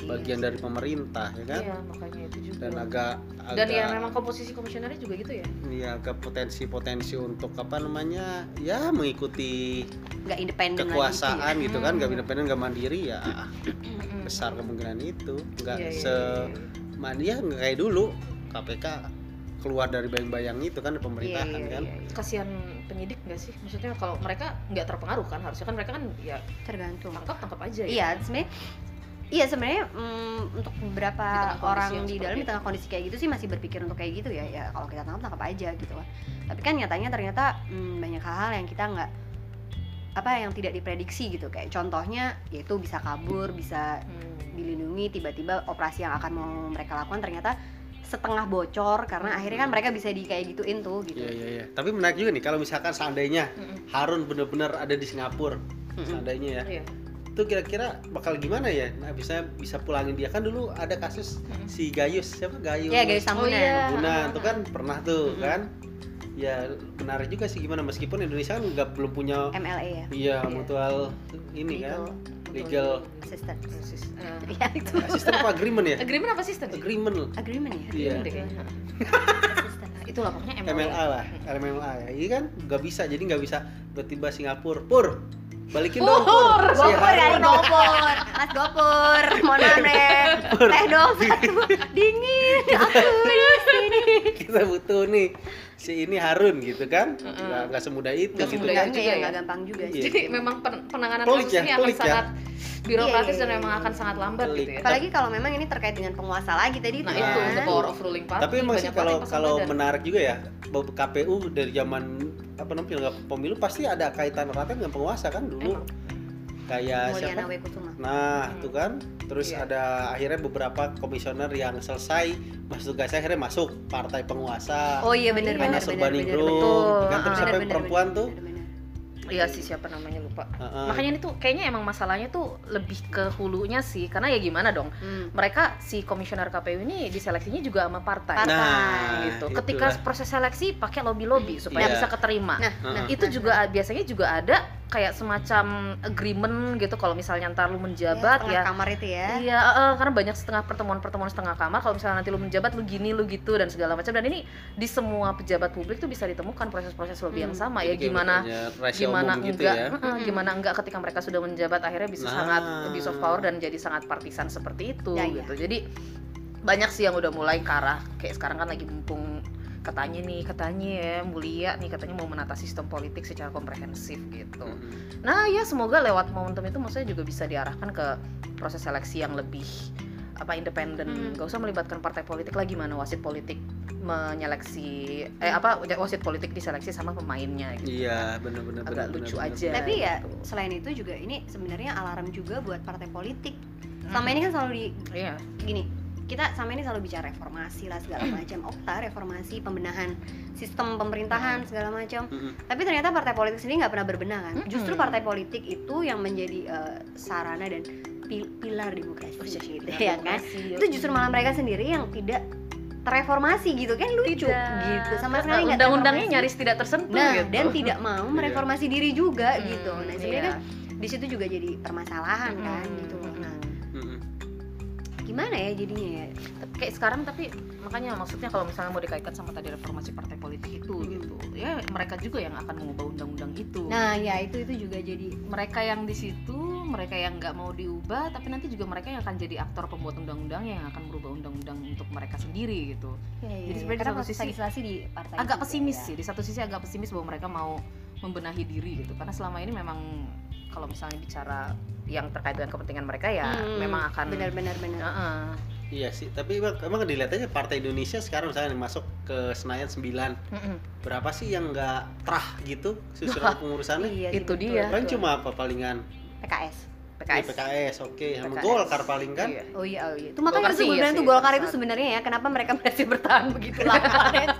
Speaker 1: Iya.
Speaker 3: bagian dari pemerintah ya kan.
Speaker 2: Iya, makanya itu juga.
Speaker 3: Dan agak
Speaker 2: Dan
Speaker 3: agak
Speaker 2: yang memang komposisi komisionernya juga gitu ya.
Speaker 3: ya, agak potensi-potensi untuk apa namanya ya mengikuti
Speaker 1: nggak independen lagi iya.
Speaker 3: kekuasaan
Speaker 2: ya.
Speaker 3: gitu kan nggak
Speaker 2: Hmm.
Speaker 3: independen nggak mandiri ya besar kemungkinan itu nggak
Speaker 2: Iya, iya,
Speaker 3: se
Speaker 2: iya,
Speaker 3: man- ya nggak kayak dulu KPK keluar dari bayang-bayang itu kan
Speaker 1: iya,
Speaker 3: pemerintahan
Speaker 1: iya,
Speaker 3: kan
Speaker 1: iya, iya.
Speaker 2: Kasihan penyidik nggak sih? Maksudnya kalau mereka nggak terpengaruh kan harusnya kan mereka kan ya
Speaker 1: tergantung
Speaker 2: tangkap tangkap aja ya.
Speaker 1: iya sebenarnya iya sebenarnya mm, untuk beberapa
Speaker 2: Di tengah kondisi
Speaker 1: orang
Speaker 2: yang
Speaker 1: di
Speaker 2: seperti
Speaker 1: dalam di
Speaker 2: itu.
Speaker 1: tengah kondisi kayak gitu sih masih berpikir untuk kayak gitu ya ya kalau kita tangkap tangkap aja gitu kan tapi kan nyatanya ternyata mm, banyak hal-hal yang kita nggak apa yang tidak diprediksi gitu kayak contohnya yaitu bisa kabur bisa
Speaker 2: Hmm.
Speaker 1: dilindungi tiba-tiba operasi yang akan mau mereka lakukan ternyata setengah bocor karena akhirnya kan mereka bisa di kayak gituin tuh gitu
Speaker 3: Iya iya iya. Tapi menarik juga nih kalau misalkan seandainya
Speaker 2: Mm-mm.
Speaker 3: Harun bener-bener ada di Singapura,
Speaker 1: Mm-mm.
Speaker 3: seandainya ya,
Speaker 2: Iya.
Speaker 3: itu kira-kira bakal gimana ya? Nah, bisa bisa pulangin dia kan dulu ada kasus
Speaker 2: Mm-mm.
Speaker 3: si Gayus siapa Gayus?
Speaker 1: Iya, Gayus Tambunan.
Speaker 3: Guna itu kan pernah tuh
Speaker 1: Mm-mm.
Speaker 3: kan? Ya menarik juga sih gimana meskipun Indonesia kan nggak belum punya
Speaker 1: MLE ya
Speaker 3: iya
Speaker 2: Iya. Gitu.
Speaker 3: mutual ini kan
Speaker 1: legal
Speaker 3: legal
Speaker 1: sister
Speaker 2: Assist- eh,
Speaker 1: ya itu
Speaker 3: assistant apa agreement
Speaker 2: *laughs*
Speaker 3: ya?
Speaker 2: Agreement apa sistem?
Speaker 3: Agreement loh.
Speaker 1: agreement ya
Speaker 3: Iya.
Speaker 2: Deh.
Speaker 1: Assistant.
Speaker 2: Nah, Itulah pokoknya MLA.
Speaker 3: MLA lah, MLA ya. Iya kan nggak bisa, jadi nggak bisa tiba-tiba Singapura. Pur, balikin dong Pur. Si
Speaker 1: Gopur kali
Speaker 3: Harun.
Speaker 1: gopur Mas gopur Mohon maaf deh Teh dong satu Dingin
Speaker 3: Iya.
Speaker 1: Aku di sini
Speaker 3: kita butuh nih si ini Harun gitu kan
Speaker 2: Heeh.
Speaker 3: nggak nggak semudah itu
Speaker 2: Nggak
Speaker 3: gitu
Speaker 2: semudah
Speaker 3: kan
Speaker 2: itu.
Speaker 1: Enggak
Speaker 2: juga
Speaker 1: ya
Speaker 2: ya.
Speaker 1: nggak gampang juga
Speaker 3: Iya.
Speaker 1: sih
Speaker 2: Jadi memang pen- penanganan
Speaker 3: Pelik
Speaker 2: kasus
Speaker 3: ya,
Speaker 2: ini akan
Speaker 3: pelik ya.
Speaker 2: sangat
Speaker 1: Iya,
Speaker 2: birokratis
Speaker 1: iya,
Speaker 2: dan memang
Speaker 1: iya.
Speaker 2: akan sangat lambat
Speaker 3: Pelik.
Speaker 2: gitu ya.
Speaker 1: Apalagi kalau memang ini terkait dengan penguasa lagi tadi
Speaker 2: Nah
Speaker 1: tuh
Speaker 2: itu
Speaker 1: kan.
Speaker 2: the power of ruling party.
Speaker 3: tapi emang sih
Speaker 2: banyak
Speaker 3: kalau
Speaker 2: banget yang
Speaker 3: kalau
Speaker 2: pesan
Speaker 3: menarik juga ya bahwa KPU dari zaman apa namanya penyelenggara pemilu pasti ada kaitan eratnya dengan penguasa
Speaker 2: dan-
Speaker 3: kan dulu
Speaker 2: Emang.
Speaker 3: kayak
Speaker 1: Mulyana
Speaker 3: siapa
Speaker 1: W. Kusuma
Speaker 3: nah
Speaker 2: Hmm.
Speaker 3: itu kan terus
Speaker 2: Iya.
Speaker 3: ada akhirnya beberapa komisioner yang selesai masuk tugasnya akhirnya masuk partai penguasa
Speaker 1: Oh iya bener
Speaker 2: Iya.
Speaker 1: bener
Speaker 3: Anas
Speaker 1: bener bener
Speaker 3: Urbaningrum,
Speaker 2: betul.
Speaker 3: kan terus
Speaker 2: Ah,
Speaker 3: sampai perempuan tuh
Speaker 2: Iya sih siapa namanya lupa.
Speaker 3: Heeh.
Speaker 2: Makanya ini tuh kayaknya emang masalahnya tuh lebih ke hulunya sih karena ya gimana dong
Speaker 1: Hmm.
Speaker 2: mereka si komisioner KPU ini diseleksinya juga sama
Speaker 1: Partai.
Speaker 2: partai
Speaker 3: nah
Speaker 2: gitu. Ketika
Speaker 3: itulah.
Speaker 2: proses seleksi pakai lobby-lobby supaya
Speaker 3: Iya.
Speaker 2: bisa keterima.
Speaker 1: Nah, nah
Speaker 2: itu juga biasanya juga ada kayak semacam agreement gitu kalau misalnya ntar lu menjabat
Speaker 1: setengah
Speaker 2: ya
Speaker 1: kamar itu ya
Speaker 2: Iya, eh, eh, karena banyak setengah pertemuan-pertemuan setengah kamar. Kalau misalnya nanti lu menjabat, lu gini, lu gitu dan segala macam. Dan ini di semua pejabat publik tuh bisa ditemukan proses-proses lobby yang
Speaker 1: Hmm.
Speaker 2: sama
Speaker 3: Jadi
Speaker 2: ya.
Speaker 3: kayak
Speaker 2: Gimana,
Speaker 3: makanya rasio
Speaker 2: gimana
Speaker 3: umum gitu
Speaker 2: enggak,
Speaker 3: ya
Speaker 2: eh, eh, gimana enggak ketika mereka sudah menjabat akhirnya bisa
Speaker 3: Nah.
Speaker 2: sangat abuse of power dan jadi sangat partisan seperti itu
Speaker 1: Ya,
Speaker 2: gitu. Jadi banyak sih yang udah mulai ke arah kayak sekarang kan lagi mumpung katanya nih katanya ya mulia nih katanya mau menata sistem politik secara komprehensif gitu.
Speaker 3: Mm-mm.
Speaker 2: Nah ya semoga lewat momentum itu maksudnya juga bisa diarahkan ke proses seleksi yang lebih apa independen,
Speaker 1: Hmm.
Speaker 2: gak usah melibatkan partai politik lagi mana wasit politik menyeleksi eh apa wasit politik diseleksi sama pemainnya gitu.
Speaker 3: Iya, benar-benar
Speaker 2: Agak lucu aja.
Speaker 1: Tapi ya
Speaker 2: gitu.
Speaker 1: selain itu juga ini sebenarnya alarm juga buat partai politik.
Speaker 2: Hmm.
Speaker 1: Selama ini kan selalu di
Speaker 2: Iya.
Speaker 1: gini, kita sama ini selalu bicara reformasi lah
Speaker 2: *clears throat*
Speaker 1: segala macam. Okta reformasi pembenahan sistem pemerintahan segala macam. Tapi ternyata partai politik sendiri nggak pernah berbenah kan.
Speaker 2: Mm-mm.
Speaker 1: Justru partai politik itu yang menjadi eh, sarana dan pil- pilar
Speaker 2: Oh,
Speaker 1: demokrasi
Speaker 2: iya,
Speaker 1: gitu ya kan. Itu justru malah mereka sendiri yang tidak terreformasi gitu kan lucu gitu. Sama sekali nggak
Speaker 2: Iya. Nah, undang-undangnya
Speaker 1: terreformasi.
Speaker 2: nyaris tidak tersentuh
Speaker 1: Nah,
Speaker 2: gitu.
Speaker 1: dan tidak mau mereformasi diri juga gitu. Nah,
Speaker 2: Hmm,
Speaker 1: sebenarnya
Speaker 2: iya.
Speaker 1: kan di situ juga jadi permasalahan kan
Speaker 2: Hmm.
Speaker 1: gitu loh. Nah, gimana ya jadinya ya?
Speaker 2: Nah, kayak sekarang tapi makanya maksudnya kalau misalnya mau dikaitkan sama tadi reformasi partai politik itu
Speaker 1: Hmm.
Speaker 2: gitu ya mereka juga yang akan mengubah undang-undang itu
Speaker 1: Nah, ya itu itu juga jadi
Speaker 2: mereka yang di situ mereka yang nggak mau diubah tapi nanti juga mereka yang akan jadi aktor pembuat undang-undang yang akan merubah undang-undang untuk mereka sendiri gitu
Speaker 1: ya, ya,
Speaker 2: Jadi
Speaker 1: ya.
Speaker 2: sebenarnya di
Speaker 1: Karena
Speaker 2: satu
Speaker 1: proses
Speaker 2: sisi
Speaker 1: legislasi di partai
Speaker 2: agak
Speaker 1: juga
Speaker 2: pesimis
Speaker 1: ya.
Speaker 2: sih di satu sisi agak pesimis bahwa mereka mau membenahi diri gitu karena selama ini memang kalau misalnya bicara yang terkait dengan kepentingan mereka ya
Speaker 1: Hmm,
Speaker 2: memang akan
Speaker 1: benar-benar benar.
Speaker 2: Heeh.
Speaker 3: Iya sih, tapi emang, emang dilihat aja Partai Indonesia sekarang misalnya yang masuk ke Senayan 9
Speaker 2: Mm-mm.
Speaker 3: Berapa sih yang nggak terah gitu
Speaker 1: *laughs*
Speaker 3: susunan pengurusannya?
Speaker 1: Iya sih,
Speaker 2: itu
Speaker 1: betul,
Speaker 2: dia.
Speaker 1: betul.
Speaker 3: Kan cuma apa palingan? Iya,
Speaker 1: PKS.
Speaker 3: PKS,
Speaker 2: PKS.
Speaker 3: PKS oke, sama
Speaker 2: PKS.
Speaker 3: Golkar paling kan?
Speaker 2: Iya.
Speaker 1: Oh iya, oh iya. Itu makanya
Speaker 2: Golkar
Speaker 1: itu
Speaker 2: sih
Speaker 1: gue
Speaker 2: iya
Speaker 1: bilang
Speaker 2: sih,
Speaker 1: tuh Golkar
Speaker 2: pada
Speaker 1: itu
Speaker 2: saat-
Speaker 1: sebenarnya ya kenapa mereka masih bertahan begitu lama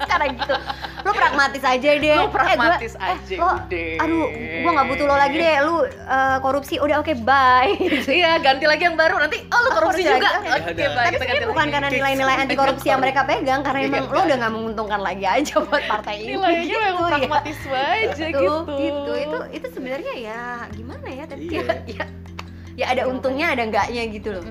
Speaker 1: sekarang gitu. Lo pragmatis aja deh.
Speaker 2: Lo
Speaker 1: Eh, gua-
Speaker 2: pragmatis
Speaker 1: eh,
Speaker 2: aja
Speaker 1: lo-
Speaker 2: deh.
Speaker 1: Aduh, gua nggak butuh lo lagi deh. Lu eh, korupsi, udah oke bye.
Speaker 2: Iya, ganti lagi yang baru nanti. Oh, lu
Speaker 1: korupsi
Speaker 2: korupsi juga.
Speaker 1: lagi,
Speaker 3: oke.
Speaker 2: Oke, kan
Speaker 3: Ada.
Speaker 2: baik.
Speaker 1: Tapi
Speaker 2: kita ganti
Speaker 1: sebenarnya bukan
Speaker 2: ya, lagi.
Speaker 1: karena nilai-nilai anti korupsi yang mereka pegang, karena
Speaker 2: Iya,
Speaker 1: emang lo udah nggak menguntungkan lagi aja buat partai ini.
Speaker 2: nilainya
Speaker 1: gitu,
Speaker 2: memang
Speaker 1: ya.
Speaker 2: pragmatisme aja
Speaker 1: Tuh,
Speaker 2: gitu.
Speaker 1: gitu. Itu itu sebenarnya ya gimana ya tadi ya, *laughs* ya,
Speaker 3: Iya.
Speaker 1: ya ada untungnya ada enggaknya gitu loh.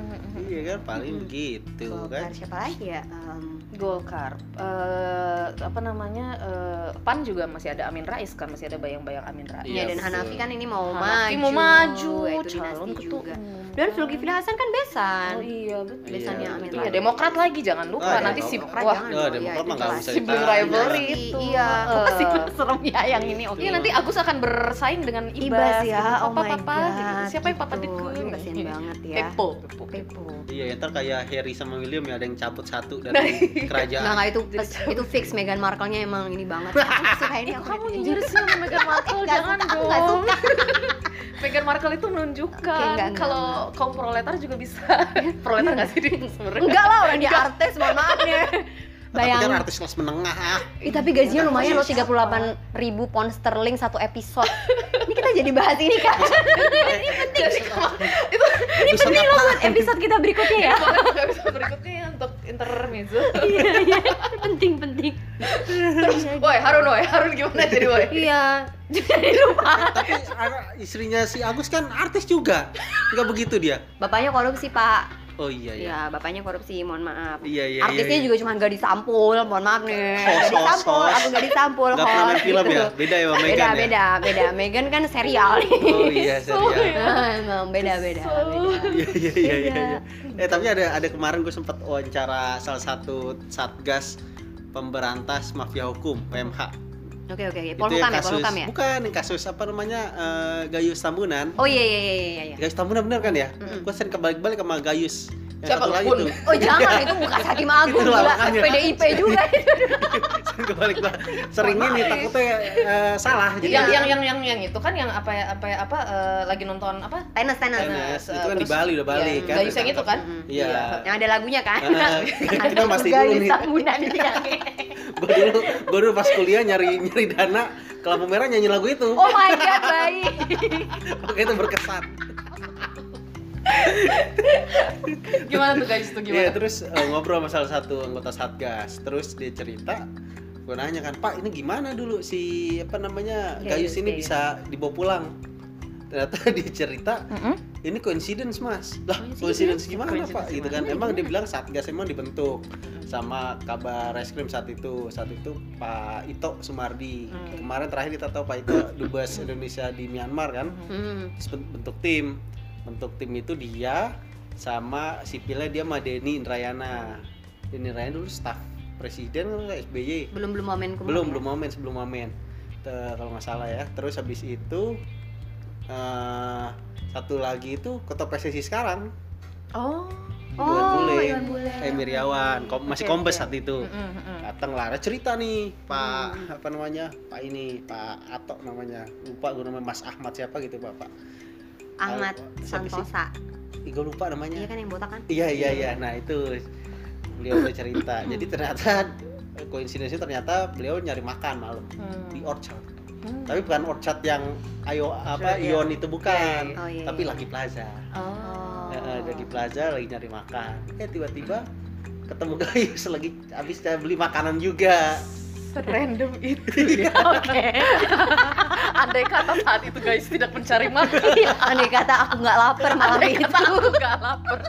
Speaker 3: Iya kan paling
Speaker 1: Mm-mm.
Speaker 3: begitu
Speaker 1: Golkar
Speaker 3: kan?
Speaker 1: siapa lagi ya? Em,
Speaker 2: Golkar, eh, apa namanya eh, Pan juga masih ada Amin Rais kan, masih ada bayang-bayang Amin Rais.
Speaker 1: Iya
Speaker 3: Iya,
Speaker 1: dan
Speaker 3: betul.
Speaker 1: Hanafi kan ini mau
Speaker 2: Hanafi
Speaker 1: maju.
Speaker 2: mau maju,
Speaker 1: Ya, itu
Speaker 2: calon
Speaker 1: dinasti
Speaker 2: ketua
Speaker 1: juga.
Speaker 2: umum.
Speaker 1: Dan Zulkifli Hasan kan besan.
Speaker 2: Oh iya betul.
Speaker 1: Besannya
Speaker 3: Iya,
Speaker 1: Amin
Speaker 3: betul.
Speaker 2: Iya,
Speaker 1: Rais.
Speaker 2: Demokrat lagi jangan lupa
Speaker 3: Ah,
Speaker 2: nanti
Speaker 3: Demokrat.
Speaker 2: sibuk
Speaker 1: Demokrat
Speaker 2: wah.
Speaker 1: jangan
Speaker 3: Oh,
Speaker 1: dong.
Speaker 3: Demokrat
Speaker 1: Iya,
Speaker 3: mah nggak
Speaker 1: itu
Speaker 3: usah
Speaker 1: jelas.
Speaker 2: Sibling
Speaker 3: ditanya.
Speaker 2: rivalry itu.
Speaker 1: Iya.
Speaker 2: Apa sih?
Speaker 1: serem ya yang ini? Oke.
Speaker 2: Iya nanti Agus akan bersaing dengan Ibas,
Speaker 1: Ibas ya,
Speaker 2: gitu.
Speaker 1: oh
Speaker 2: papa,
Speaker 1: my
Speaker 2: papa,
Speaker 1: god.
Speaker 2: gitu. Siapa yang papa Iya.
Speaker 1: gitu.
Speaker 2: dukung?
Speaker 1: Aduh, Kasian banget ya.
Speaker 2: Pepo, Pepo.
Speaker 1: Pepo.
Speaker 3: Iya, ntar kayak Harry sama William ya ada yang cabut satu
Speaker 1: *laughs*
Speaker 3: dari
Speaker 1: Iya. Nggak,
Speaker 3: kerajaan.
Speaker 1: nggak, itu pes- itu fix Meghan Markle-nya emang ini
Speaker 2: *laughs*
Speaker 1: banget. Aku suka ini
Speaker 2: Ih,
Speaker 1: aku
Speaker 2: kamu
Speaker 1: liatin.
Speaker 2: nyindir sih sama *laughs* Meghan Markle,
Speaker 1: Nggak
Speaker 2: jangan
Speaker 1: suka, aku nggak
Speaker 2: dong. *laughs* Meghan Markle itu
Speaker 1: Oke,
Speaker 2: menunjukkan
Speaker 1: nggak, Iya. nggak,
Speaker 2: kalau kaum proletar juga
Speaker 1: *laughs*
Speaker 2: bisa. proletar nggak sih dia sebenarnya?
Speaker 1: Enggak lah orang dia artis, mohon maaf ya.
Speaker 3: Tapi kan
Speaker 1: Bayangin.
Speaker 3: artis kelas menengah
Speaker 1: *laughs*
Speaker 3: ah.
Speaker 1: Ih, tapi gajinya lumayan loh
Speaker 2: Siapa?
Speaker 1: 38 ribu pound sterling satu episode. ini kita jadi bahas ini kan.
Speaker 3: Eh,
Speaker 1: ini penting.
Speaker 3: Ini
Speaker 1: kan, Ini loh buat episode kita berikutnya ya.
Speaker 2: Boleh buka episode berikutnya ya untuk intermezzo.
Speaker 1: Iya, iya. Penting, penting. Terus,
Speaker 2: Woi, Harun, woi, Harun gimana jadi woi?
Speaker 1: Iya. Jadi lupa.
Speaker 3: Tapi ar- istrinya si Agus kan artis juga. Enggak begitu dia.
Speaker 1: Bapaknya korupsi, Pak.
Speaker 3: Oh iya iya.
Speaker 1: Iya, bapaknya korupsi, mohon maaf.
Speaker 3: Iya iya.
Speaker 1: Artisnya juga cuma gadis sampul, mohon maaf nih.
Speaker 3: Host,
Speaker 1: Gadis
Speaker 3: host,
Speaker 1: sampul,
Speaker 3: host.
Speaker 1: aku gadis sampul.
Speaker 3: Gak pernah main
Speaker 1: host,
Speaker 3: film
Speaker 1: gitu.
Speaker 3: ya? Beda ya sama
Speaker 1: Beda,
Speaker 3: Megan ya?
Speaker 1: beda, beda. Megan kan serial nih.
Speaker 3: Oh iya, serial.
Speaker 1: Ah, Emang *laughs* beda, beda, beda.
Speaker 3: Iya iya iya iya.
Speaker 1: Beda.
Speaker 3: iya. Eh tapi ada ada kemarin gue sempat wawancara salah satu satgas pemberantas mafia hukum PMH.
Speaker 1: Oke, oke, oke.
Speaker 3: Itu
Speaker 1: Polhukam ya,
Speaker 3: kasus
Speaker 1: Polhukam ya.
Speaker 3: bukan yang kasus apa namanya eh, Gayus Tambunan.
Speaker 1: Oh iya, iya, iya, iya, iya.
Speaker 3: Gayus Tambunan bener kan ya?
Speaker 1: Mm-mm.
Speaker 3: Gue sering kebalik-balik sama Gayus. Yang
Speaker 2: Siapa
Speaker 3: satu
Speaker 2: lu?
Speaker 3: lagi
Speaker 2: Bun?
Speaker 3: tuh. *laughs*
Speaker 1: Oh jangan, itu bukan Hakim Agung
Speaker 3: Itulah
Speaker 1: gila.
Speaker 3: makanya.
Speaker 1: PDIP juga.
Speaker 3: Sering kebalik-balik. Sering ini takutnya eh, salah
Speaker 1: Iya,
Speaker 3: jadi.
Speaker 2: yang yang yang yang yang itu kan yang apa apa apa eh, lagi nonton apa
Speaker 1: Tenis, tenis.
Speaker 3: Tenis,
Speaker 2: eh,
Speaker 3: itu kan di
Speaker 2: terus-
Speaker 3: Bali, udah Bali,
Speaker 2: Iya,
Speaker 3: kan?
Speaker 2: Gayus yang itu kan
Speaker 1: Mm-mm.
Speaker 3: Iya.
Speaker 1: Yang ada lagunya kan?
Speaker 3: Eh, *laughs* kita pasti dulu nih.
Speaker 1: ya.
Speaker 3: Gue dulu, gua dulu pas kuliah nyari nyari dana ke lampu merah nyanyi lagu itu.
Speaker 1: Oh my god, baik.
Speaker 3: Oke itu berkesan.
Speaker 2: *laughs* gimana tuh guys itu
Speaker 3: Iya
Speaker 2: gimana
Speaker 3: terus eh, ngobrol sama salah satu anggota satgas. Terus dia cerita, gue nanya kan Pak ini gimana dulu si apa namanya
Speaker 1: Iya,
Speaker 3: Gayus
Speaker 1: iya,
Speaker 3: ini
Speaker 1: iya,
Speaker 3: bisa dibawa pulang. Ternyata *laughs* dia cerita
Speaker 2: Mm-mm.
Speaker 3: ini coincidence mas lah
Speaker 1: Coincidence?
Speaker 3: coincidence gimana
Speaker 2: Coincidence
Speaker 3: pak gitu kan
Speaker 1: gimana?
Speaker 3: emang dia bilang satgas emang dibentuk sama kabar reskrim saat itu saat itu Pak Ito Sumardi
Speaker 1: Hmm.
Speaker 2: Oke.
Speaker 3: kemarin terakhir kita tahu Pak Ito dubes Indonesia di Myanmar kan Terus ben- bentuk tim bentuk tim itu dia sama sipilnya dia sama Denny Indrayana Denny Indrayana dulu staf presiden kan SBY
Speaker 1: Belum belum momen
Speaker 3: belum belum momen sebelum momen Te- kalau nggak salah ya terus habis itu eh satu lagi itu ketua PSSI sekarang
Speaker 2: oh
Speaker 3: Iwan Bule,
Speaker 1: Iwan Bule.
Speaker 3: Eh, Emiriawan kom- masih
Speaker 2: Oke, oke.
Speaker 3: kombes saat itu
Speaker 2: Mm-mm, mm-mm.
Speaker 3: datang Lara cerita nih Pak apa namanya Pak ini Pak Atok namanya lupa gue namanya Mas Ahmad siapa gitu bapak
Speaker 1: Ahmad
Speaker 3: Al- siapa sih?
Speaker 1: Santosa.
Speaker 3: Ih, gue lupa
Speaker 1: Iya
Speaker 3: namanya
Speaker 1: kan yang botak kan?
Speaker 3: iya iya iya nah itu beliau udah cerita jadi ternyata *laughs* koinsidensi ternyata beliau nyari makan malam
Speaker 2: Hmm.
Speaker 3: di Orchard
Speaker 2: Hmm.
Speaker 3: tapi bukan Orchard yang ayo apa
Speaker 2: Iya, iya.
Speaker 3: Ion itu bukan
Speaker 1: Oh iya.
Speaker 3: tapi
Speaker 1: iya.
Speaker 3: Lucky Plaza
Speaker 2: oh
Speaker 3: Nah, eh,
Speaker 1: *laughs*
Speaker 3: Lucky Plaza lagi nyari makan eh tiba-tiba ketemu *laughs* Gayus lagi habis dia beli makanan juga
Speaker 2: random itu
Speaker 3: *laughs*
Speaker 2: ya oke *laughs* andai kata saat itu guys tidak mencari makan
Speaker 1: Andai Iya, kan kata aku nggak lapar malam
Speaker 2: andai
Speaker 1: itu.
Speaker 2: kata aku nggak lapar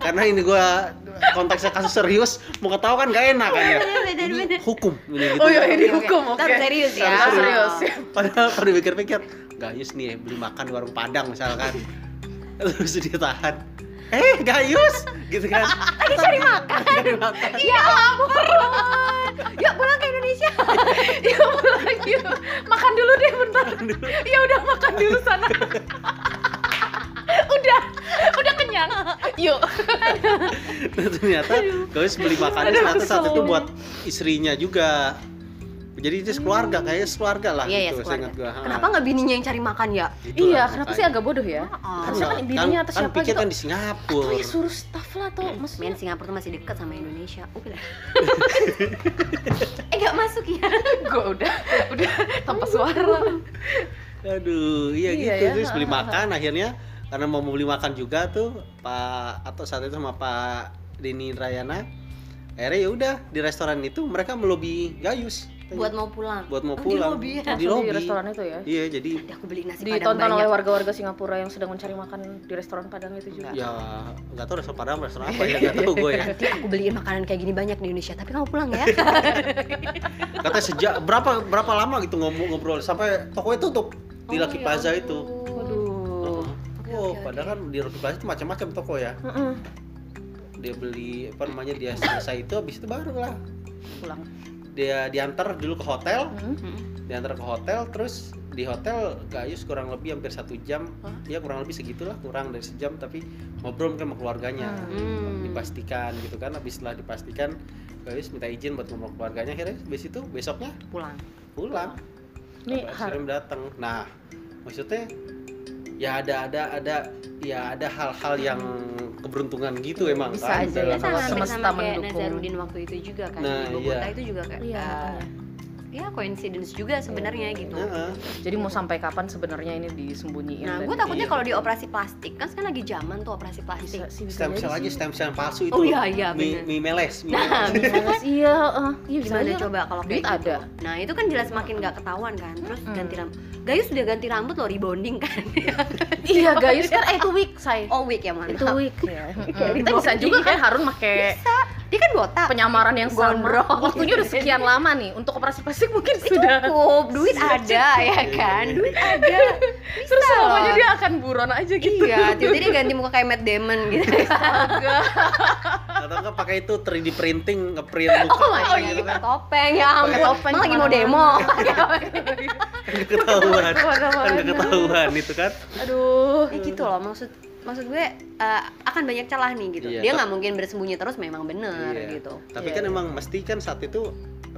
Speaker 3: karena ini gua konteksnya kasus serius mau ketawa kan gak enak
Speaker 1: *laughs*
Speaker 3: kan ya
Speaker 1: Bener, bener,
Speaker 3: ini
Speaker 1: bener.
Speaker 3: hukum ini gitu
Speaker 2: oh iya ini
Speaker 1: Oke, oke.
Speaker 2: hukum oke
Speaker 1: Kita harus serius ya.
Speaker 2: Harus serius ya.
Speaker 3: padahal pada pikir-pikir Gayus nih beli makan di warung Padang misalkan *laughs* terus dia tahan eh Gayus gitu kan lagi cari makan cari makan
Speaker 1: Ya ampun. Yuk pulang ke Indonesia.
Speaker 2: *laughs* Iya, pulang yuk. makan dulu deh bentar
Speaker 3: dulu.
Speaker 2: ya udah makan dulu
Speaker 3: *laughs*
Speaker 2: sana udah udah kenyang yuk
Speaker 3: *laughs* ternyata Gawis beli makanan
Speaker 2: Aduh,
Speaker 3: ternyata saat
Speaker 2: kesel
Speaker 3: itu
Speaker 2: ini.
Speaker 3: buat istrinya juga jadi itu sekeluarga kayaknya sekeluarga lah
Speaker 2: Iya, iya,
Speaker 3: gitu
Speaker 2: sekeluarga.
Speaker 3: ingat gua. Ha,
Speaker 1: Kenapa nggak bininya yang cari makan ya?
Speaker 3: gitu
Speaker 2: iya
Speaker 3: lah
Speaker 2: kenapa
Speaker 3: makanya.
Speaker 2: sih agak bodoh ya
Speaker 1: Oh,
Speaker 2: Harusnya kan
Speaker 3: Enggak,
Speaker 2: ibunya atau siapa
Speaker 3: pikir
Speaker 2: gitu.
Speaker 3: kan di Singapura
Speaker 2: Wih, suruh staff lah atau
Speaker 3: Iya.
Speaker 1: Men
Speaker 2: maksudnya
Speaker 1: Singapura tuh masih dekat sama Indonesia. Udah. eh nggak masuk ya?
Speaker 2: gue udah udah tanpa suara
Speaker 3: aduh iya,
Speaker 2: Iya
Speaker 3: gitu
Speaker 2: ya,
Speaker 3: terus beli
Speaker 2: ha, ha, ha.
Speaker 3: makan akhirnya karena mau beli makan juga tuh Pak atau saat itu sama Pak Dini Rayana akhirnya ya udah di restoran itu mereka melobi Gayus
Speaker 1: Buat mau pulang.
Speaker 3: buat mau
Speaker 1: Di
Speaker 3: pulang
Speaker 1: lobby ya?
Speaker 3: di
Speaker 2: Langsung
Speaker 3: lobby.
Speaker 2: restoran itu ya
Speaker 3: iya jadi
Speaker 1: Udah aku beli nasi padang
Speaker 2: ditonton oleh
Speaker 1: banyak.
Speaker 2: warga-warga Singapura yang sedang mencari makan di restoran Padang itu juga.
Speaker 3: ya nggak tahu restoran Padang restoran apa
Speaker 1: *laughs*
Speaker 3: ya nggak tahu gue ya
Speaker 1: Nanti aku beliin makanan kayak gini banyak di Indonesia, tapi kamu pulang ya.
Speaker 3: kata sejak berapa berapa lama gitu ngomong ngobrol sampai toko itu tutup *laughs* di
Speaker 1: Oh,
Speaker 3: Lucky
Speaker 1: ya
Speaker 3: Plaza
Speaker 1: ampun.
Speaker 3: itu
Speaker 1: Waduh.
Speaker 3: Heeh.
Speaker 1: Oke,
Speaker 3: Oh,
Speaker 1: oke,
Speaker 3: padahal kan di Lucky Plaza itu macam-macam toko ya.
Speaker 2: Mm-mm.
Speaker 3: Dia beli apa namanya dia selesai itu habis itu baru lah
Speaker 2: Pulang.
Speaker 3: dia diantar dulu ke hotel,
Speaker 2: Mm-mm.
Speaker 3: diantar ke hotel terus di hotel Gayus kurang lebih hampir satu jam,
Speaker 2: Hah?
Speaker 3: dia kurang lebih segitulah kurang dari sejam tapi ngobrol mungkin sama keluarganya.
Speaker 1: Hmm.
Speaker 3: dipastikan gitu kan habis setelah dipastikan Gayus minta izin buat ngomong ke keluarganya akhirnya habis itu besoknya
Speaker 1: Pulang.
Speaker 3: pulang
Speaker 2: Nih,
Speaker 3: Bapak
Speaker 2: har-
Speaker 3: Sirim datang. Nah, maksudnya ya ada ada ada ya ada hal-hal yang keberuntungan gitu emang
Speaker 2: Bisa
Speaker 3: kan
Speaker 2: aja ya,
Speaker 3: dalam
Speaker 1: Biasa
Speaker 2: sama-
Speaker 3: masa-
Speaker 1: hampir
Speaker 2: semesta
Speaker 1: sama kayak
Speaker 2: mendukung.
Speaker 1: Nazarudin waktu itu juga kan
Speaker 3: Nah,
Speaker 1: di Bogota
Speaker 3: iya.
Speaker 1: itu juga kayak
Speaker 2: Iya,
Speaker 1: eh,
Speaker 2: makanya.
Speaker 1: ya coincidence juga sebenarnya gitu.
Speaker 3: Heeh.
Speaker 2: Jadi mau sampai kapan sebenarnya ini disembunyiin?
Speaker 1: Nah,
Speaker 2: dan
Speaker 1: gue takutnya
Speaker 3: Iya.
Speaker 1: kalau di operasi plastik kan sekarang lagi zaman tuh operasi plastik.
Speaker 2: bisa sih bisa
Speaker 3: stem cell
Speaker 2: jadi
Speaker 3: aja
Speaker 2: sih.
Speaker 3: stem cell yang palsu itu
Speaker 1: Oh iya iya
Speaker 3: mi,
Speaker 1: benar.
Speaker 3: mi meles mi
Speaker 1: Nah,
Speaker 3: meles.
Speaker 2: Males, iya, eh, iya bisa
Speaker 1: gimana
Speaker 2: aja.
Speaker 1: coba kalau kayak
Speaker 2: Duit
Speaker 1: gitu?
Speaker 2: ada.
Speaker 1: Nah, itu kan jelas makin nggak ketahuan kan. Terus
Speaker 2: Mm-mm.
Speaker 1: ganti rambut. Gayus udah ganti rambut loh rebonding
Speaker 2: *laughs*
Speaker 1: kan.
Speaker 2: *laughs* Iya, guys kan eh, itu week saya.
Speaker 1: oh, wig ya, mantap.
Speaker 2: itu week ya.
Speaker 1: *laughs* Kayak
Speaker 2: Kita bisa
Speaker 1: dibonding
Speaker 2: juga kan Harun pakai
Speaker 1: Bisa. Dia kan botak.
Speaker 2: penyamaran yang sama.
Speaker 1: Gondrong.
Speaker 2: Waktunya udah sekian lama nih untuk operasi plastik mungkin sudah.
Speaker 1: Cukup, duit ada ya kan. Duit ada.
Speaker 2: Terus
Speaker 1: loh.
Speaker 2: selamanya dia akan buron aja gitu.
Speaker 1: iya,
Speaker 2: *laughs*
Speaker 1: tiba-tiba dia ganti muka kayak Matt Damon gitu.
Speaker 3: atau enggak pakai itu 3D printing ngeprint muka
Speaker 2: Oh my
Speaker 1: Oh,
Speaker 2: God.
Speaker 1: iya, topeng ya ampun.
Speaker 2: Pakai topeng
Speaker 1: Emang lagi mau
Speaker 2: *laughs*
Speaker 1: demo.
Speaker 3: kan nggak
Speaker 1: Iya,
Speaker 3: ketahuan
Speaker 2: Kemana-mana.
Speaker 3: kan nggak ketahuan itu kan
Speaker 2: Aduh.
Speaker 1: ya gitu loh maksud maksud gue eh, akan banyak celah nih gitu.
Speaker 3: Iya.
Speaker 1: Dia nggak mungkin bersembunyi terus memang bener
Speaker 3: Iya.
Speaker 1: gitu.
Speaker 3: tapi
Speaker 2: Iya,
Speaker 3: kan
Speaker 2: iya.
Speaker 3: emang mesti kan saat itu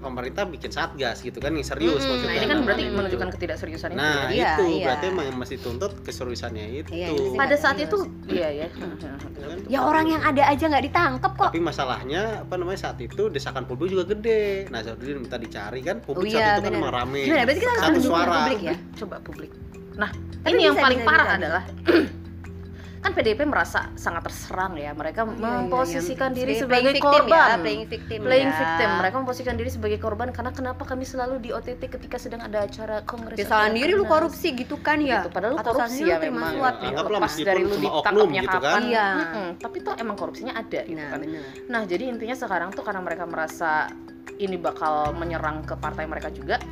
Speaker 3: pemerintah bikin satgas gitu kan yang serius
Speaker 1: Mm,
Speaker 3: maksudnya
Speaker 2: Nah, ini kan
Speaker 1: Nah,
Speaker 2: berarti
Speaker 1: itu.
Speaker 2: menunjukkan ketidakseriusannya.
Speaker 3: Nah,
Speaker 1: Iya,
Speaker 3: itu
Speaker 1: iya.
Speaker 3: berarti emang yang mesti tuntut keseriusannya itu.
Speaker 1: Iya, itu sih.
Speaker 2: Pada saat
Speaker 1: Serius.
Speaker 2: itu, iya ya.
Speaker 3: Kan?
Speaker 1: Ya orang yang ada aja nggak ditangkep kok.
Speaker 3: tapi masalahnya apa namanya saat itu desakan publik juga gede. Nah, Nazarudin minta dicari kan
Speaker 1: Oh
Speaker 3: publik
Speaker 1: iya,
Speaker 3: saat itu kan
Speaker 1: benar.
Speaker 3: emang rame.
Speaker 1: Gimana? Berarti kita harus
Speaker 3: Satu
Speaker 1: menunjukkan
Speaker 3: suara.
Speaker 1: publik ya.
Speaker 2: Coba publik. Nah,
Speaker 1: Tapi
Speaker 2: ini yang
Speaker 1: bisa,
Speaker 2: paling
Speaker 1: bisa,
Speaker 2: parah
Speaker 1: bisa, bisa.
Speaker 2: adalah *clears throat* kan PDIP merasa sangat terserang ya. Mereka
Speaker 1: Iya,
Speaker 2: memposisikan diri
Speaker 1: Sebagai iya. playing
Speaker 2: sebagai
Speaker 1: victim
Speaker 2: korban.
Speaker 1: ya, playing victim.
Speaker 2: Playing
Speaker 1: ya.
Speaker 2: victim, mereka memposisikan diri sebagai korban karena kenapa kami selalu di OTT ketika sedang ada acara kongres.
Speaker 1: Kesalahan
Speaker 2: atau
Speaker 1: diri lu
Speaker 2: kongres.
Speaker 1: korupsi gitu kan ya.
Speaker 2: Gitu, Padahal lu
Speaker 1: Atau
Speaker 2: korupsi
Speaker 1: salah
Speaker 2: ya
Speaker 1: lu terima
Speaker 2: memang.
Speaker 1: suap ya.
Speaker 3: Anggaplah
Speaker 2: Lepas
Speaker 3: meskipun
Speaker 2: dari lu
Speaker 3: cuma oknum
Speaker 2: ditangkapnya
Speaker 3: gitu kan.
Speaker 2: kapan.
Speaker 1: Iya.
Speaker 2: mm-mm, Tapi toh emang korupsinya ada gitu
Speaker 1: Nah,
Speaker 2: kan.
Speaker 1: bener.
Speaker 2: Nah, jadi intinya sekarang tuh karena mereka merasa ini bakal menyerang ke partai mereka juga,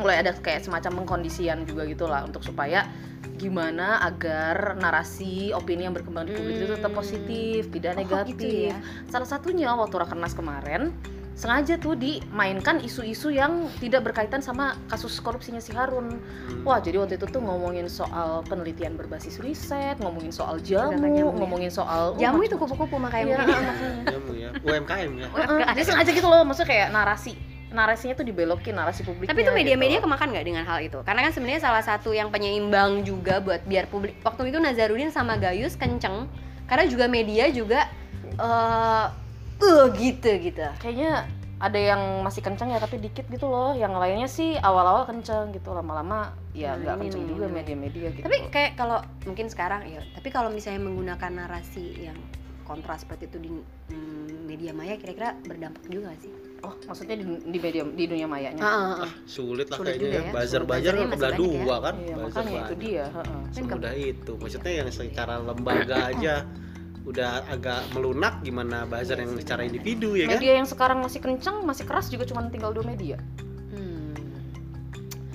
Speaker 2: mulai ada kayak semacam pengkondisian juga gitulah untuk supaya gimana agar narasi opini yang berkembang di publik itu tetap
Speaker 1: Hmm.
Speaker 2: positif,
Speaker 1: Oh,
Speaker 2: tidak negatif.
Speaker 1: gitu ya.
Speaker 2: Salah satunya waktu rakernas kemarin sengaja tuh dimainkan isu-isu yang tidak berkaitan sama kasus korupsinya si Harun.
Speaker 3: Hmm.
Speaker 2: Wah, jadi waktu itu tuh ngomongin soal penelitian berbasis riset, ngomongin soal jamu,
Speaker 1: Gerakan jamu ya.
Speaker 2: ngomongin soal oh,
Speaker 1: Jamu itu kupu-kupu makanya
Speaker 2: *laughs* Iya.
Speaker 1: mungkin.
Speaker 3: Jamu ya. UMKM ya.
Speaker 2: Heeh, dia sengaja gitu loh, maksudnya kayak narasi narasinya tuh dibelokin narasi gitu. publik.
Speaker 1: Tapi itu media-media kemakan nggak dengan hal itu? Karena kan sebenarnya salah satu yang penyeimbang juga buat biar publik waktu itu Nazarudin sama Gayus kenceng karena juga media juga eh eh, gitu gitu.
Speaker 2: kayaknya ada yang masih kenceng ya tapi dikit gitu loh. Yang lainnya sih awal-awal kenceng gitu, lama-lama ya
Speaker 1: Nah,
Speaker 2: nggak
Speaker 1: ini
Speaker 2: kenceng
Speaker 1: nih,
Speaker 2: juga
Speaker 1: ini.
Speaker 2: media-media gitu.
Speaker 1: Tapi kayak kalau mungkin sekarang ya, tapi kalau misalnya menggunakan narasi yang kontras seperti itu di mm, media maya kira-kira berdampak juga nggak sih?
Speaker 2: oh, maksudnya di, di media di dunia mayanya.
Speaker 1: Heeh.
Speaker 3: Sulit lah
Speaker 1: Sulit juga
Speaker 3: kayaknya
Speaker 1: ya.
Speaker 3: ya. Bazar-bazar
Speaker 1: Sulit.
Speaker 3: kan
Speaker 1: Bazarnya
Speaker 3: kebelah
Speaker 1: masih banyak ya.
Speaker 3: dua kan.
Speaker 2: Iya,
Speaker 3: Bazar
Speaker 2: makanya itu
Speaker 3: banyak.
Speaker 2: dia. heeh.
Speaker 1: Kan
Speaker 3: Semudah itu. Maksudnya yang
Speaker 2: Iya.
Speaker 3: secara lembaga aja udah agak melunak gimana bazar yang secara individu ya kan.
Speaker 2: Media yang sekarang masih kenceng, masih keras juga cuma tinggal dua media.
Speaker 1: Hmm.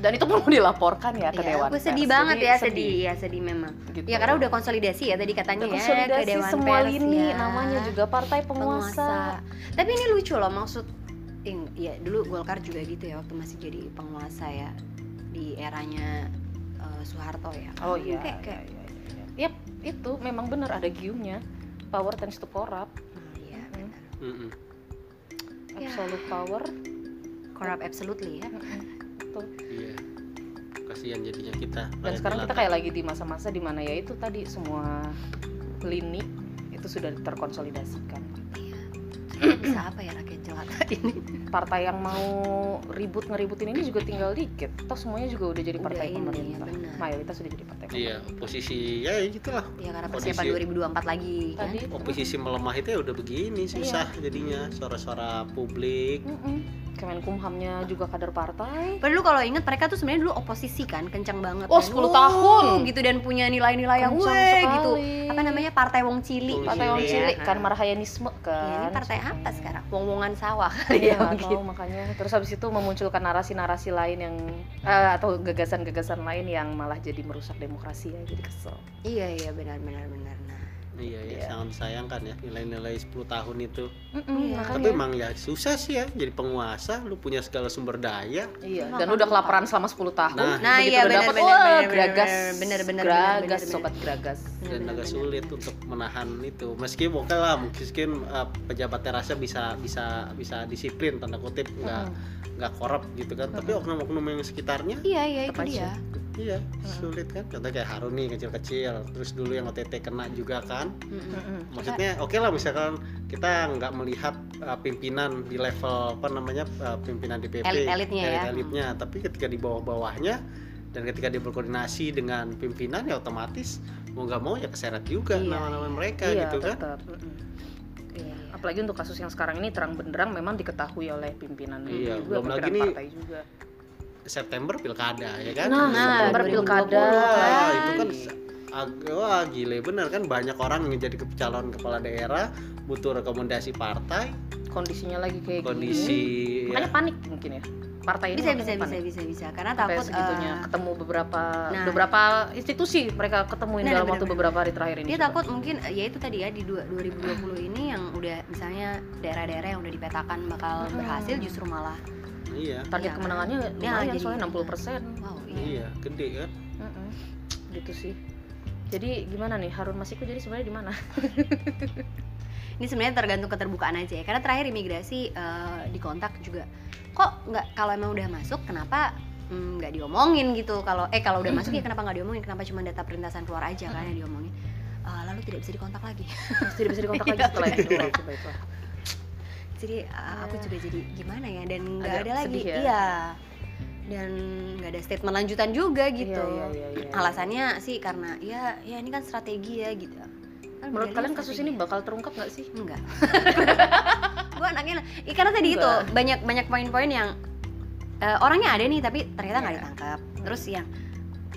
Speaker 2: Dan itu pun mau dilaporkan ya ke
Speaker 1: Ya,
Speaker 2: dewan.
Speaker 1: aku sedih
Speaker 2: pers.
Speaker 1: banget
Speaker 2: Jadi
Speaker 1: ya, sedih. ya sedih memang.
Speaker 2: gitu.
Speaker 1: Ya karena udah konsolidasi ya tadi katanya ya ke
Speaker 2: konsolidasi
Speaker 1: dewan
Speaker 2: semua
Speaker 1: pers
Speaker 2: lini,
Speaker 1: ya.
Speaker 2: namanya juga partai penguasa.
Speaker 1: penguasa. Tapi ini lucu loh maksud iya, ing- ya dulu Golkar juga gitu ya waktu masih jadi penguasa ya di eranya eh, Soeharto ya.
Speaker 2: Oh iya.
Speaker 1: Kayak,
Speaker 2: iya,
Speaker 1: kayak,
Speaker 2: iya, iya. Yap, itu memang benar ada giumnya. Power tends to corrupt.
Speaker 1: hmm, iya, benar.
Speaker 3: Mm-mm.
Speaker 1: Ya.
Speaker 2: Absolute power.
Speaker 1: Corrupt absolutely ya.
Speaker 3: Iya. Kasihan jadinya kita.
Speaker 2: Dan
Speaker 3: rakyat
Speaker 2: sekarang kita
Speaker 3: jelata.
Speaker 2: kayak lagi di masa-masa dimana ya itu tadi semua lini itu sudah terkonsolidasikan.
Speaker 1: Iya.
Speaker 3: *clears throat*
Speaker 1: Kita Bisa apa ya rakyat jelata *laughs* ini?
Speaker 2: Partai yang mau ribut ngeributin ini juga tinggal dikit. Toh semuanya juga udah jadi
Speaker 1: Udah
Speaker 2: partai
Speaker 1: ini,
Speaker 2: pemerintah.
Speaker 1: benar.
Speaker 2: Mayoritas sudah jadi partai
Speaker 3: Iya,
Speaker 2: pemerintah.
Speaker 3: posisi ya gitulah.
Speaker 1: Ya karena
Speaker 3: Kondisi-
Speaker 1: persiapan 2024 lagi kan.
Speaker 2: Tadi itu.
Speaker 3: Oposisi melemah itu ya udah begini
Speaker 2: Iya.
Speaker 3: susah jadinya suara-suara publik.
Speaker 2: Mm-mm. Kemenkumhamnya juga kader partai.
Speaker 1: Padahal lu kalau inget mereka tuh sebenarnya dulu oposisi kan, kencang banget.
Speaker 2: Oh,
Speaker 1: kan.
Speaker 2: 10
Speaker 1: Wuh,
Speaker 2: tahun.
Speaker 1: gitu dan punya nilai-nilai yang
Speaker 2: Kencang
Speaker 1: weh
Speaker 2: sekali.
Speaker 1: gitu. Apa namanya? Partai Wong Cili.
Speaker 3: Wong
Speaker 2: Partai Wong
Speaker 3: Iya.
Speaker 2: Cilik kan marhayanisme
Speaker 1: Ya,
Speaker 2: kan.
Speaker 1: ini partai apa
Speaker 2: sebenarnya.
Speaker 1: sekarang? Wong-wongan *laughs* sawah kali
Speaker 2: *laughs*
Speaker 1: ya
Speaker 2: Iya, nggak
Speaker 1: mungkin.
Speaker 2: tahu makanya. Terus habis itu memunculkan narasi-narasi lain yang eh, atau gagasan-gagasan lain yang malah jadi merusak demokrasi ya, jadi kesel.
Speaker 1: Iya iya benar benar benar. Nah,
Speaker 3: Iya, ya,
Speaker 2: Iya.
Speaker 3: sangat disayangkan ya nilai-nilai 10 tahun itu.
Speaker 2: Mm-mm,
Speaker 1: Iya.
Speaker 2: makanya.
Speaker 3: Tapi emang ya susah sih ya jadi penguasa, lu punya segala sumber daya.
Speaker 2: iya,
Speaker 1: Emang
Speaker 2: dan
Speaker 1: kan
Speaker 2: udah
Speaker 1: lupa.
Speaker 2: kelaparan selama 10 tahun.
Speaker 3: Nah.
Speaker 1: Nah,
Speaker 2: begitu
Speaker 1: iya,
Speaker 2: udah
Speaker 1: benar,
Speaker 2: dapet,
Speaker 1: benar,
Speaker 2: wah,
Speaker 1: benar,
Speaker 2: gragas.
Speaker 1: benar, benar, benar, benar,
Speaker 2: Gragas
Speaker 1: benar.
Speaker 2: sobat gragas.
Speaker 1: benar,
Speaker 3: dan
Speaker 1: benar,
Speaker 3: agak
Speaker 1: benar,
Speaker 3: sulit
Speaker 1: benar.
Speaker 3: untuk menahan itu meski oke lah mungkin eh, pejabat terasa bisa bisa bisa disiplin tanda kutip nggak
Speaker 2: Mm-mm.
Speaker 3: nggak korup gitu kan tapi oknum-oknum yang sekitarnya
Speaker 1: Iya iya itu
Speaker 2: Tepat
Speaker 1: dia.
Speaker 3: iya sulit kan contoh kayak Harun nih kecil-kecil terus dulu yang OTT kena juga kan
Speaker 1: Mm-mm.
Speaker 2: Mm-mm.
Speaker 3: maksudnya oke lah misalkan kita nggak melihat eh, pimpinan di level apa namanya eh, pimpinan DPP
Speaker 1: Elit-elitnya ya.
Speaker 3: elit-elitnya tapi ketika di bawah-bawahnya dan ketika dia berkoordinasi dengan pimpinan ya otomatis mau nggak mau ya keseret juga
Speaker 1: Iya,
Speaker 3: nama-nama
Speaker 1: iya.
Speaker 3: mereka
Speaker 2: Iya,
Speaker 3: gitu kan
Speaker 2: tetap. Mm-mm.
Speaker 1: Iya.
Speaker 2: Apalagi untuk kasus yang sekarang ini terang benderang memang diketahui oleh pimpinan
Speaker 3: Iya,
Speaker 2: juga,
Speaker 3: belum lagi
Speaker 2: pimpinan
Speaker 3: nih-
Speaker 2: partai juga.
Speaker 3: September pilkada ya kan
Speaker 2: Nah,
Speaker 1: September
Speaker 2: pilkada.
Speaker 3: Wah, itu kan se- ag- wah gile bener kan banyak orang yang jadi ke- calon kepala daerah butuh rekomendasi partai
Speaker 2: Kondisinya lagi kayak gini.
Speaker 3: kondisi
Speaker 2: Iya. Makanya
Speaker 3: ya,
Speaker 2: panik mungkin ya. Partai ini
Speaker 1: Bisa
Speaker 2: makanya
Speaker 1: bisa bisa
Speaker 2: panik.
Speaker 1: bisa bisa karena
Speaker 2: sampai
Speaker 1: takut
Speaker 2: segitunya
Speaker 1: eh,
Speaker 2: ketemu beberapa
Speaker 1: nah.
Speaker 2: beberapa institusi mereka ketemuin
Speaker 1: Benar,
Speaker 2: dalam
Speaker 1: benar,
Speaker 2: waktu
Speaker 1: benar.
Speaker 2: beberapa hari terakhir ini.
Speaker 1: dia
Speaker 2: juga.
Speaker 1: takut mungkin eh, ya itu tadi ya di dua- 2020 ini yang udah misalnya daerah-daerah yang udah dipetakan bakal
Speaker 2: Hmm.
Speaker 1: berhasil justru malah
Speaker 3: iya
Speaker 2: target
Speaker 1: Iya,
Speaker 2: kemenangannya lumayan
Speaker 1: jadi-
Speaker 2: soalnya 60 persen.
Speaker 1: wow iya.
Speaker 3: iya gede kan
Speaker 2: Gitu sih. Jadi gimana nih Harun Masiku jadi sebenarnya di
Speaker 1: *laughs*
Speaker 2: mana?
Speaker 1: Ini sebenarnya tergantung keterbukaan aja ya. Karena terakhir imigrasi eh, dikontak juga kok nggak kalau emang udah masuk kenapa mm, nggak diomongin gitu kalau eh kalau udah masuk ya kenapa nggak diomongin kenapa cuma data perintasan keluar aja kan yang diomongin Eh, lalu tidak bisa dikontak lagi *laughs*
Speaker 2: Pasti bisa dikontak lagi
Speaker 1: Iya,
Speaker 2: setelah itu.
Speaker 1: betul.
Speaker 2: Oh, baiklah.
Speaker 1: jadi eh, aku
Speaker 2: Ya.
Speaker 1: juga jadi gimana ya dan nggak
Speaker 2: Agak
Speaker 1: ada lagi
Speaker 2: sedih ya.
Speaker 1: iya dan nggak ada statement lanjutan juga gitu
Speaker 2: Iya, iya, iya, iya.
Speaker 1: alasannya sih karena ya ya ini kan strategi ya gitu Kan
Speaker 2: Menurut
Speaker 1: berarti
Speaker 2: kalian kasus
Speaker 1: strategi.
Speaker 2: ini bakal terungkap nggak sih?
Speaker 1: enggak *laughs* gue anaknya ya, karena tadi itu
Speaker 2: Enggak.
Speaker 1: banyak banyak poin-poin yang eh, orangnya ada nih tapi ternyata nggak
Speaker 2: Iya.
Speaker 1: ditangkap terus yang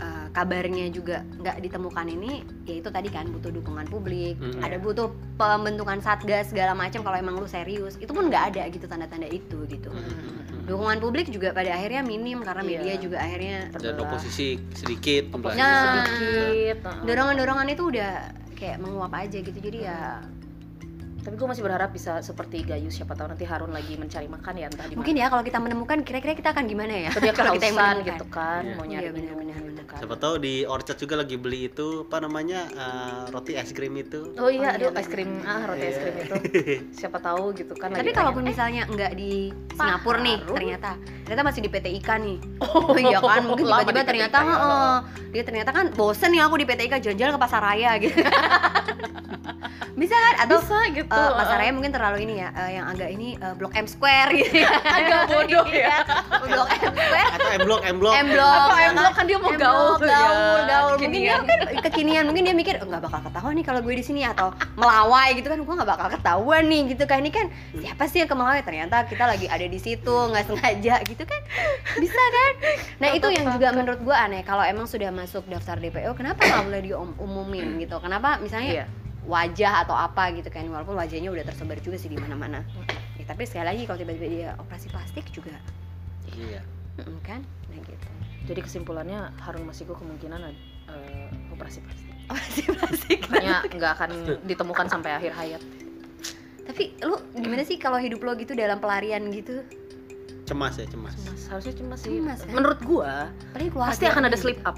Speaker 1: eh, kabarnya juga nggak ditemukan ini ya itu tadi kan butuh dukungan publik
Speaker 3: Mm,
Speaker 1: ada butuh pembentukan satgas segala macam kalau emang lu serius itu pun nggak ada gitu tanda-tanda itu gitu
Speaker 3: Hmm,
Speaker 1: dukungan publik juga pada akhirnya minim karena
Speaker 2: Iya.
Speaker 1: media juga akhirnya
Speaker 3: dan
Speaker 2: Terbelah.
Speaker 3: oposisi sedikit
Speaker 2: Oposisi
Speaker 3: pembelajaran.
Speaker 1: Nah.
Speaker 2: sedikit. uh-uh.
Speaker 1: dorongan-dorongan itu udah kayak menguap aja gitu jadi ya
Speaker 2: Tapi gue masih berharap bisa seperti Gayus siapa tahu nanti Harun lagi mencari makan ya entah di
Speaker 1: mungkin ya kalau kita menemukan kira-kira kita akan gimana ya
Speaker 2: mana. Atau dia
Speaker 1: *laughs* kalau kita yang
Speaker 2: kehausan
Speaker 1: menemukan.
Speaker 2: gitu kan,
Speaker 3: Iya.
Speaker 2: mau nyari
Speaker 1: Iya, benar,
Speaker 2: minum
Speaker 1: benar,
Speaker 2: gitu
Speaker 1: benar.
Speaker 2: kan.
Speaker 3: siapa tahu di Orchard juga lagi beli itu apa namanya eh, roti es krim itu
Speaker 2: Oh iya,
Speaker 1: Oh,
Speaker 2: aduh
Speaker 1: iya,
Speaker 2: es krim
Speaker 1: benar.
Speaker 2: ah roti es krim itu *laughs* siapa tahu gitu kan.
Speaker 1: Tapi
Speaker 2: lagi
Speaker 1: kalaupun
Speaker 2: pengen, Eh,
Speaker 1: misalnya nggak di Singapura nih,
Speaker 2: Harun.
Speaker 1: ternyata ternyata masih di PT IKA nih.
Speaker 2: Oh,
Speaker 1: Oh iya kan, mungkin
Speaker 2: lama
Speaker 1: tiba-tiba
Speaker 2: di
Speaker 1: ternyata
Speaker 2: PTK, ya.
Speaker 1: heeh, dia ternyata kan bosen nih aku di PT IKA jalan-jalan ke pasar raya
Speaker 2: *laughs*
Speaker 1: gitu. Bisa kan? Atau
Speaker 2: bisa gitu.
Speaker 1: eh, pasar raya mungkin terlalu ini ya, eh, yang agak ini eh, Blok M Square gitu.
Speaker 2: *laughs*
Speaker 1: ya.
Speaker 2: agak kan bodoh ya.
Speaker 1: Blok M Square,
Speaker 3: atau M Block M Block
Speaker 1: M Block.
Speaker 2: Apa
Speaker 1: ya
Speaker 2: M Block kan dia mau
Speaker 1: M
Speaker 2: gaul,
Speaker 1: Block, gaul,
Speaker 2: ya.
Speaker 1: gaul. Mungkin dia
Speaker 2: Kekinian.
Speaker 1: kan kekinian, mungkin dia mikir "Oh, nggak bakal ketahuan nih kalau gue di sini atau melawai gitu kan, gue nggak bakal ketahuan nih gitu kan ini kan siapa sih yang ke melawai? Ternyata kita lagi ada di situ nggak sengaja gitu kan, bisa kan? Nah itu yang juga menurut gue aneh kalau emang sudah masuk daftar DPO, kenapa nggak boleh diumumin gitu? Kenapa misalnya
Speaker 2: Hmm. Iya.
Speaker 1: wajah atau apa gitu kan walaupun wajahnya udah tersebar juga sih di mana-mana.
Speaker 2: Hmm.
Speaker 1: Ya, tapi sekali lagi kalau tiba-tiba dia operasi plastik juga,
Speaker 3: iya
Speaker 1: mm, kan? Nah gitu.
Speaker 2: Jadi kesimpulannya Harun Masiku kemungkinan eh, operasi *laughs* plastik.
Speaker 1: Operasi plastik.
Speaker 2: Kayaknya nggak akan ditemukan sampai akhir hayat.
Speaker 1: Tapi lu gimana sih kalau hidup lo gitu dalam pelarian gitu?
Speaker 3: cemas ya cemas
Speaker 2: Cemas, harusnya cemas sih.
Speaker 1: Cemas, kan?
Speaker 2: Menurut gua
Speaker 1: Paling keluarga
Speaker 2: pasti akan ada
Speaker 1: gitu.
Speaker 2: slip up.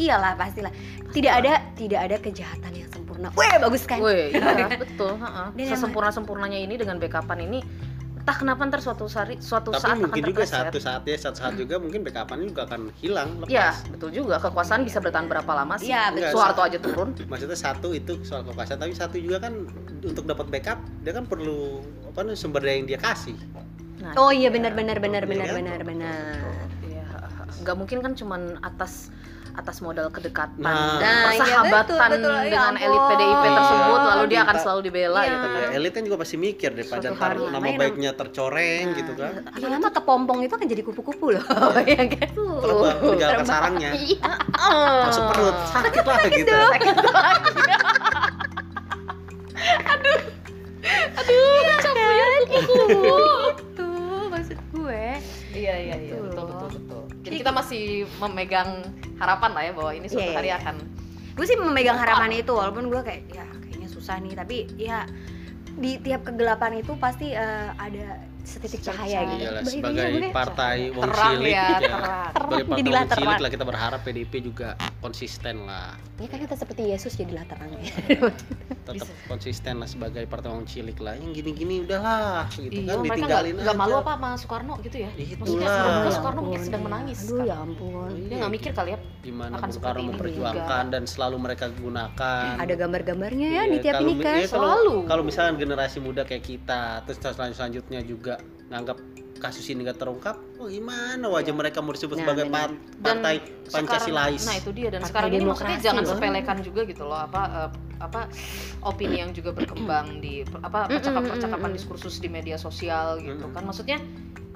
Speaker 1: iyalah pastilah tidak ada tidak ada kejahatan yang sempurna weh bagus kan
Speaker 2: Woi, iya, betul. ha-ha.
Speaker 1: Dan yang-
Speaker 2: Sesempurna sempurnanya ini dengan backupan ini, entah kenapa ntar suatu hari, suatu
Speaker 3: tapi
Speaker 2: saat akan
Speaker 3: mungkin juga
Speaker 2: terpleset.
Speaker 3: satu saat ya satu saat juga mungkin backupannya juga akan hilang lepas
Speaker 2: Ya, betul juga. Kekuasaan bisa bertahan berapa lama sih?
Speaker 1: Iya,
Speaker 3: betul.
Speaker 2: Soeharto aja turun.
Speaker 3: maksudnya satu itu soal kekuasaan tapi satu juga kan untuk dapat backup dia kan perlu apa namanya sumber daya yang dia kasih
Speaker 2: Nah,
Speaker 1: oh iya benar benar benar
Speaker 3: Iya
Speaker 1: benar
Speaker 3: kan?
Speaker 1: benar benar
Speaker 2: Iya, ha-ha. nggak mungkin kan cuman atas atas modal kedekatan
Speaker 3: Nah.
Speaker 2: dan
Speaker 1: Nah, iya,
Speaker 2: persahabatan
Speaker 1: betul, betul. Ya
Speaker 2: dengan elit
Speaker 1: ampun.
Speaker 2: PDIP tersebut, lalu dia akan
Speaker 3: Minta-
Speaker 2: selalu dibela
Speaker 1: Iya.
Speaker 2: gitu kan.
Speaker 3: Ya, elit kan juga pasti mikir daripada
Speaker 2: Suatu
Speaker 3: ntar
Speaker 2: hari. Nah.
Speaker 3: nama
Speaker 1: Makanya nam-
Speaker 3: baiknya tercoreng gitu kan
Speaker 1: lama kepompong itu akan jadi kupu-kupu loh
Speaker 2: Iya.
Speaker 1: *laughs* ya kan
Speaker 3: terbang meninggalkan
Speaker 1: *laughs* Terbang.
Speaker 3: sarangnya
Speaker 1: Iya.
Speaker 3: masuk perut sakit lah gitu
Speaker 2: ya,
Speaker 1: itu Iya kan? Gitu, maksud gue
Speaker 2: Iya iya
Speaker 1: iya, betul, betul,
Speaker 2: betul. Jadi kita masih memegang harapan lah ya bahwa ini suatu
Speaker 1: Iya, iya,
Speaker 2: hari
Speaker 1: iya.
Speaker 2: akan
Speaker 1: gue sih memegang harapan itu walaupun gue kayak ya kayaknya susah nih tapi ya di tiap kegelapan itu pasti eh, ada setitik
Speaker 2: Setitik
Speaker 1: cahaya
Speaker 2: cahaya.
Speaker 1: gitu
Speaker 3: Iyalah,
Speaker 1: Baik,
Speaker 3: ya, sebagai
Speaker 1: iya, gue-
Speaker 3: partai wong
Speaker 2: terang
Speaker 3: cilik
Speaker 2: ya,
Speaker 3: ya,
Speaker 2: terang.
Speaker 3: sebagai
Speaker 1: Terang,
Speaker 3: partai
Speaker 1: jadilah
Speaker 3: wong cilik
Speaker 1: terang.
Speaker 3: lah kita berharap PDIP juga konsisten lah
Speaker 1: ya kan kita seperti Yesus jadilah terang ya
Speaker 3: tetap konsisten lah sebagai partai wong cilik lah yang gini-gini udahlah
Speaker 2: Iya,
Speaker 3: gitu kan
Speaker 2: mereka nggak
Speaker 3: ditinggalin
Speaker 2: nggak
Speaker 3: aja.
Speaker 2: malu apa sama Soekarno gitu ya? Maksudnya
Speaker 3: Itulah.
Speaker 2: Soekarno,
Speaker 1: Ya
Speaker 2: Soekarno mungkin
Speaker 1: ampun,
Speaker 2: sedang
Speaker 1: ya.
Speaker 2: menangis.
Speaker 3: kan?
Speaker 1: aduh ya ampun
Speaker 3: Iya.
Speaker 2: Dia nggak mikir kali ya.
Speaker 3: gimana
Speaker 2: akan
Speaker 3: Bung
Speaker 2: seperti
Speaker 3: Karno
Speaker 2: ini
Speaker 3: memperjuangkan dan selalu mereka gunakan
Speaker 1: ada gambar-gambarnya ya
Speaker 3: Iya,
Speaker 1: di tiap
Speaker 3: kalau
Speaker 1: ini
Speaker 3: mi-
Speaker 1: kan
Speaker 3: iya, kalau-
Speaker 2: selalu.
Speaker 3: kalau misalnya generasi muda kayak kita terus selan- selanjutnya juga nganggap kasus ini gak terungkap oh gimana
Speaker 2: Iya.
Speaker 3: wajah mereka mau
Speaker 1: Nah,
Speaker 3: disebut sebagai
Speaker 1: benar.
Speaker 3: par- partai Pancasilais
Speaker 2: Sekarang, nah itu dia dan
Speaker 1: Partai
Speaker 2: sekarang ini maksudnya
Speaker 1: demokrasi
Speaker 2: jangan
Speaker 1: loh.
Speaker 2: sepelekan juga gitu loh apa eh, apa opini yang juga berkembang di apa
Speaker 1: Mm-mm,
Speaker 2: percakapan-percakapan
Speaker 1: mm-mm.
Speaker 2: diskursus di media sosial gitu
Speaker 3: Mm-mm.
Speaker 2: kan maksudnya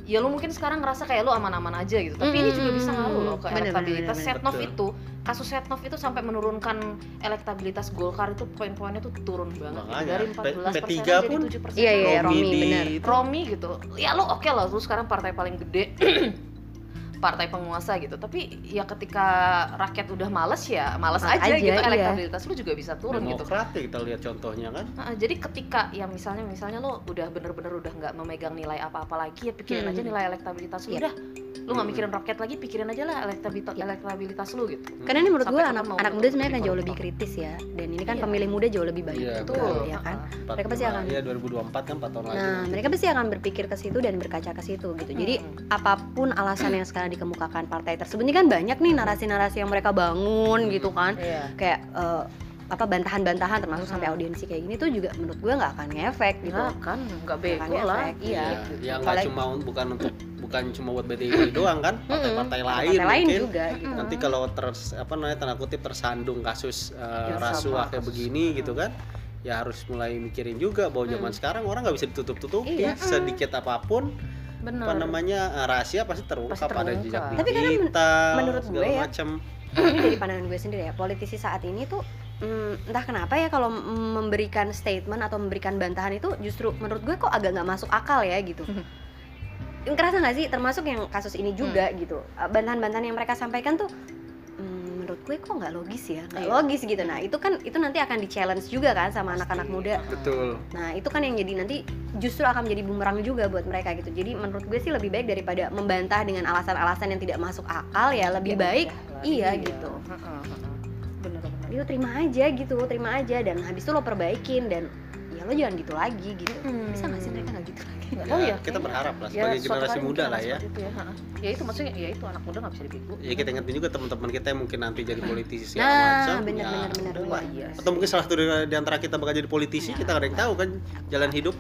Speaker 2: ya lu mungkin sekarang ngerasa kayak lu aman-aman aja gitu tapi ini juga bisa ngaruh loh ke
Speaker 1: Bener, bener,
Speaker 2: elektabilitas
Speaker 1: bener,
Speaker 3: bener.
Speaker 2: Setnov
Speaker 3: Betul.
Speaker 2: itu kasus Setnov itu sampai menurunkan elektabilitas Golkar itu poin-poinnya tuh turun banget gitu.
Speaker 3: Makanya,
Speaker 2: dari
Speaker 3: P-
Speaker 2: 14
Speaker 3: P3
Speaker 2: persen jadi
Speaker 3: pun
Speaker 2: 7 persen
Speaker 1: Iya, iya,
Speaker 3: Romi
Speaker 1: Romi,
Speaker 3: di
Speaker 1: benar.
Speaker 3: itu.
Speaker 2: eh, Romi gitu ya lu oke lah lu sekarang partai paling gede *clears throat* partai penguasa gitu tapi ya ketika rakyat udah males ya males
Speaker 1: Males aja,
Speaker 2: aja, gitu
Speaker 1: iya.
Speaker 2: elektabilitas lu juga bisa turun gitu
Speaker 3: demokrat ya kita lihat contohnya kan
Speaker 2: Nah, jadi ketika ya misalnya misalnya lo udah bener-bener udah nggak memegang nilai apa-apa lagi ya pikirin
Speaker 1: Hmm.
Speaker 2: aja nilai elektabilitas
Speaker 1: Iya.
Speaker 2: lu udah lu nggak mikirin rakyat lagi pikirin aja lah elektabilitas
Speaker 1: Iya.
Speaker 2: elektabilitas lu gitu
Speaker 1: karena ini menurut
Speaker 2: Sampai
Speaker 1: gue
Speaker 2: kapan
Speaker 1: anak
Speaker 2: mau
Speaker 1: anak
Speaker 2: untuk
Speaker 1: muda sebenarnya akan
Speaker 2: jadi
Speaker 1: jauh
Speaker 2: koruptor?
Speaker 1: lebih kritis ya dan ini kan
Speaker 2: Iya.
Speaker 1: pemilih muda jauh lebih baik
Speaker 3: Iya,
Speaker 1: betul
Speaker 3: betul.
Speaker 1: ya kan
Speaker 2: Hmm.
Speaker 3: Empat
Speaker 1: Mereka pasti
Speaker 3: lima,
Speaker 1: akan-
Speaker 3: ya 2024 kan 4 tahun lagi
Speaker 1: nah mereka pasti akan berpikir ke situ dan berkaca ke situ gitu jadi
Speaker 2: Hmm.
Speaker 1: apapun alasan yang sekarang dikemukakan partai tersebut ini kan banyak nih narasi-narasi yang mereka bangun gitu kan
Speaker 2: iya.
Speaker 1: kayak eh, apa bantahan-bantahan termasuk sampai
Speaker 2: Hmm.
Speaker 1: audiensi kayak gini tuh juga menurut gue nggak akan ngefek gitu
Speaker 2: Nah, kan nggak bego
Speaker 1: Makanya
Speaker 2: lah
Speaker 1: efek,
Speaker 3: iya
Speaker 1: iya.
Speaker 3: yang
Speaker 1: Apalagi-
Speaker 3: nggak cuma un- bukan untuk bukan cuma buat BDI doang kan partai-partai lain
Speaker 1: partai lain
Speaker 3: mungkin
Speaker 1: juga gitu
Speaker 3: nanti kalau ters apa namanya tanda kutip tersandung kasus eh,
Speaker 2: Ya,
Speaker 3: rasuah
Speaker 2: sama
Speaker 3: kayak
Speaker 2: kasus.
Speaker 3: begini gitu kan ya harus mulai mikirin juga bahwa zaman sekarang orang nggak bisa ditutup tutupi
Speaker 1: Iya, Nah.
Speaker 3: sedikit apapun
Speaker 2: bener
Speaker 3: apa namanya eh, rahasia pasti terungkap,
Speaker 2: Pasti
Speaker 3: ada
Speaker 2: terungkap.
Speaker 3: jejak
Speaker 1: Tapi karena men-
Speaker 3: digital
Speaker 1: menurut
Speaker 3: segala
Speaker 1: gue ya,
Speaker 3: macam
Speaker 1: ini dari pandangan gue sendiri ya politisi saat ini tuh mm, entah kenapa ya kalau mm, memberikan statement atau memberikan bantahan itu justru menurut gue kok agak nggak masuk akal ya gitu
Speaker 2: Hmm.
Speaker 1: kerasa nggak sih termasuk yang kasus ini juga
Speaker 2: Hmm.
Speaker 1: gitu Eh, bantahan-bantahan yang mereka sampaikan tuh mm, menurut gue kok nggak logis ya nggak
Speaker 2: Iya.
Speaker 1: logis gitu nah itu kan itu nanti akan di challenge juga kan sama
Speaker 2: iya.
Speaker 1: anak-anak muda
Speaker 3: betul
Speaker 1: nah itu kan yang jadi nanti justru akan menjadi bumerang juga buat mereka gitu jadi menurut gue sih lebih baik daripada membantah dengan alasan-alasan yang tidak masuk akal ya lebih baik iya, gitu.
Speaker 2: bener-bener
Speaker 1: lo terima aja gitu lo terima aja dan habis itu lo perbaikin dan ya lo jangan gitu lagi gitu
Speaker 2: Hmm.
Speaker 1: bisa nggak sih mereka nggak gitu lagi
Speaker 3: Ya, kita berharap lah sebagai
Speaker 2: Oh, iya. suatu
Speaker 3: generasi
Speaker 2: hari
Speaker 3: muda
Speaker 2: mungkin
Speaker 3: lah
Speaker 2: akan
Speaker 3: ya
Speaker 2: seperti itu ya. ha-ha. Ya itu maksudnya ya itu anak muda nggak bisa dibego.
Speaker 3: ya kita ingetin juga teman-teman kita yang mungkin nanti jadi politisi segala
Speaker 1: nah
Speaker 3: macam,
Speaker 1: benar
Speaker 3: ya,
Speaker 1: benar benar
Speaker 3: udahlah.
Speaker 1: benar.
Speaker 2: Iya.
Speaker 3: atau mungkin salah satu di- di antara kita bakal jadi politisi
Speaker 1: Iya.
Speaker 2: Ya.
Speaker 3: kita nggak ada yang tahu kan jalan hidup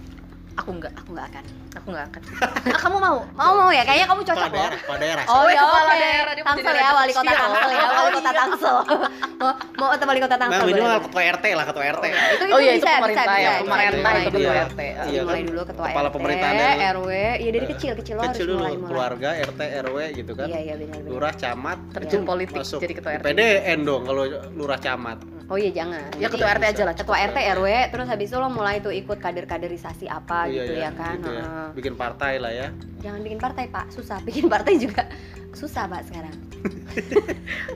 Speaker 2: Aku nggak,
Speaker 1: aku nggak akan
Speaker 2: aku nggak akan.
Speaker 1: Oh,
Speaker 2: Ah, kamu mau?
Speaker 1: mau mau ya kayaknya kamu cocok
Speaker 3: kepala
Speaker 1: loh
Speaker 3: daerah kepala daerah
Speaker 1: Oh
Speaker 2: Sampai
Speaker 1: ya
Speaker 2: kepala
Speaker 1: oke,
Speaker 2: daerah dia mau
Speaker 1: Tangsel
Speaker 2: jadi
Speaker 1: ya,
Speaker 2: rakyat
Speaker 1: wali kota
Speaker 2: kecil.
Speaker 1: Tangsel ya, wali
Speaker 2: Oh,
Speaker 1: kota
Speaker 2: iya.
Speaker 1: Tangsel *laughs* Mau, mau atau wali kota Tangsel
Speaker 3: Nah,
Speaker 1: boleh,
Speaker 3: minimal
Speaker 1: boleh.
Speaker 3: ketua RT lah ketua RT.
Speaker 1: Itu, gitu,
Speaker 2: Oh iya, itu
Speaker 1: bisa, bisa,
Speaker 2: pemerintah ya,
Speaker 1: bisa,
Speaker 3: pemerintah
Speaker 1: bisa, dimulai
Speaker 3: itu dia.
Speaker 1: dulu.
Speaker 2: RT.
Speaker 3: Iya
Speaker 1: Dimulai
Speaker 3: kan?
Speaker 1: dulu ketua
Speaker 3: Kepala
Speaker 1: RT,
Speaker 3: pemerintahan ya.
Speaker 1: RW, iya dari kecil, kecil lo harus
Speaker 3: Kecil dulu
Speaker 1: mulai, mulai
Speaker 3: keluarga RT RW gitu kan.
Speaker 1: Iya, iya benar benar
Speaker 3: Lurah camat
Speaker 2: Terjun
Speaker 3: itu
Speaker 2: politik
Speaker 3: masuk
Speaker 2: jadi ketua RT.
Speaker 3: PDN dong kalau lurah camat.
Speaker 1: Oh iya jangan
Speaker 2: Ya
Speaker 1: Jadi-
Speaker 2: ketua RT aja lah.
Speaker 1: ketua RT RW terus habis itu lo mulai tuh ikut kader-kaderisasi apa
Speaker 3: Iya,
Speaker 1: gitu
Speaker 3: iya,
Speaker 1: ya kan
Speaker 3: gitu ya.
Speaker 1: Heeh.
Speaker 3: Bikin partai lah ya.
Speaker 1: jangan bikin partai pak susah *laughs* bikin partai juga susah pak sekarang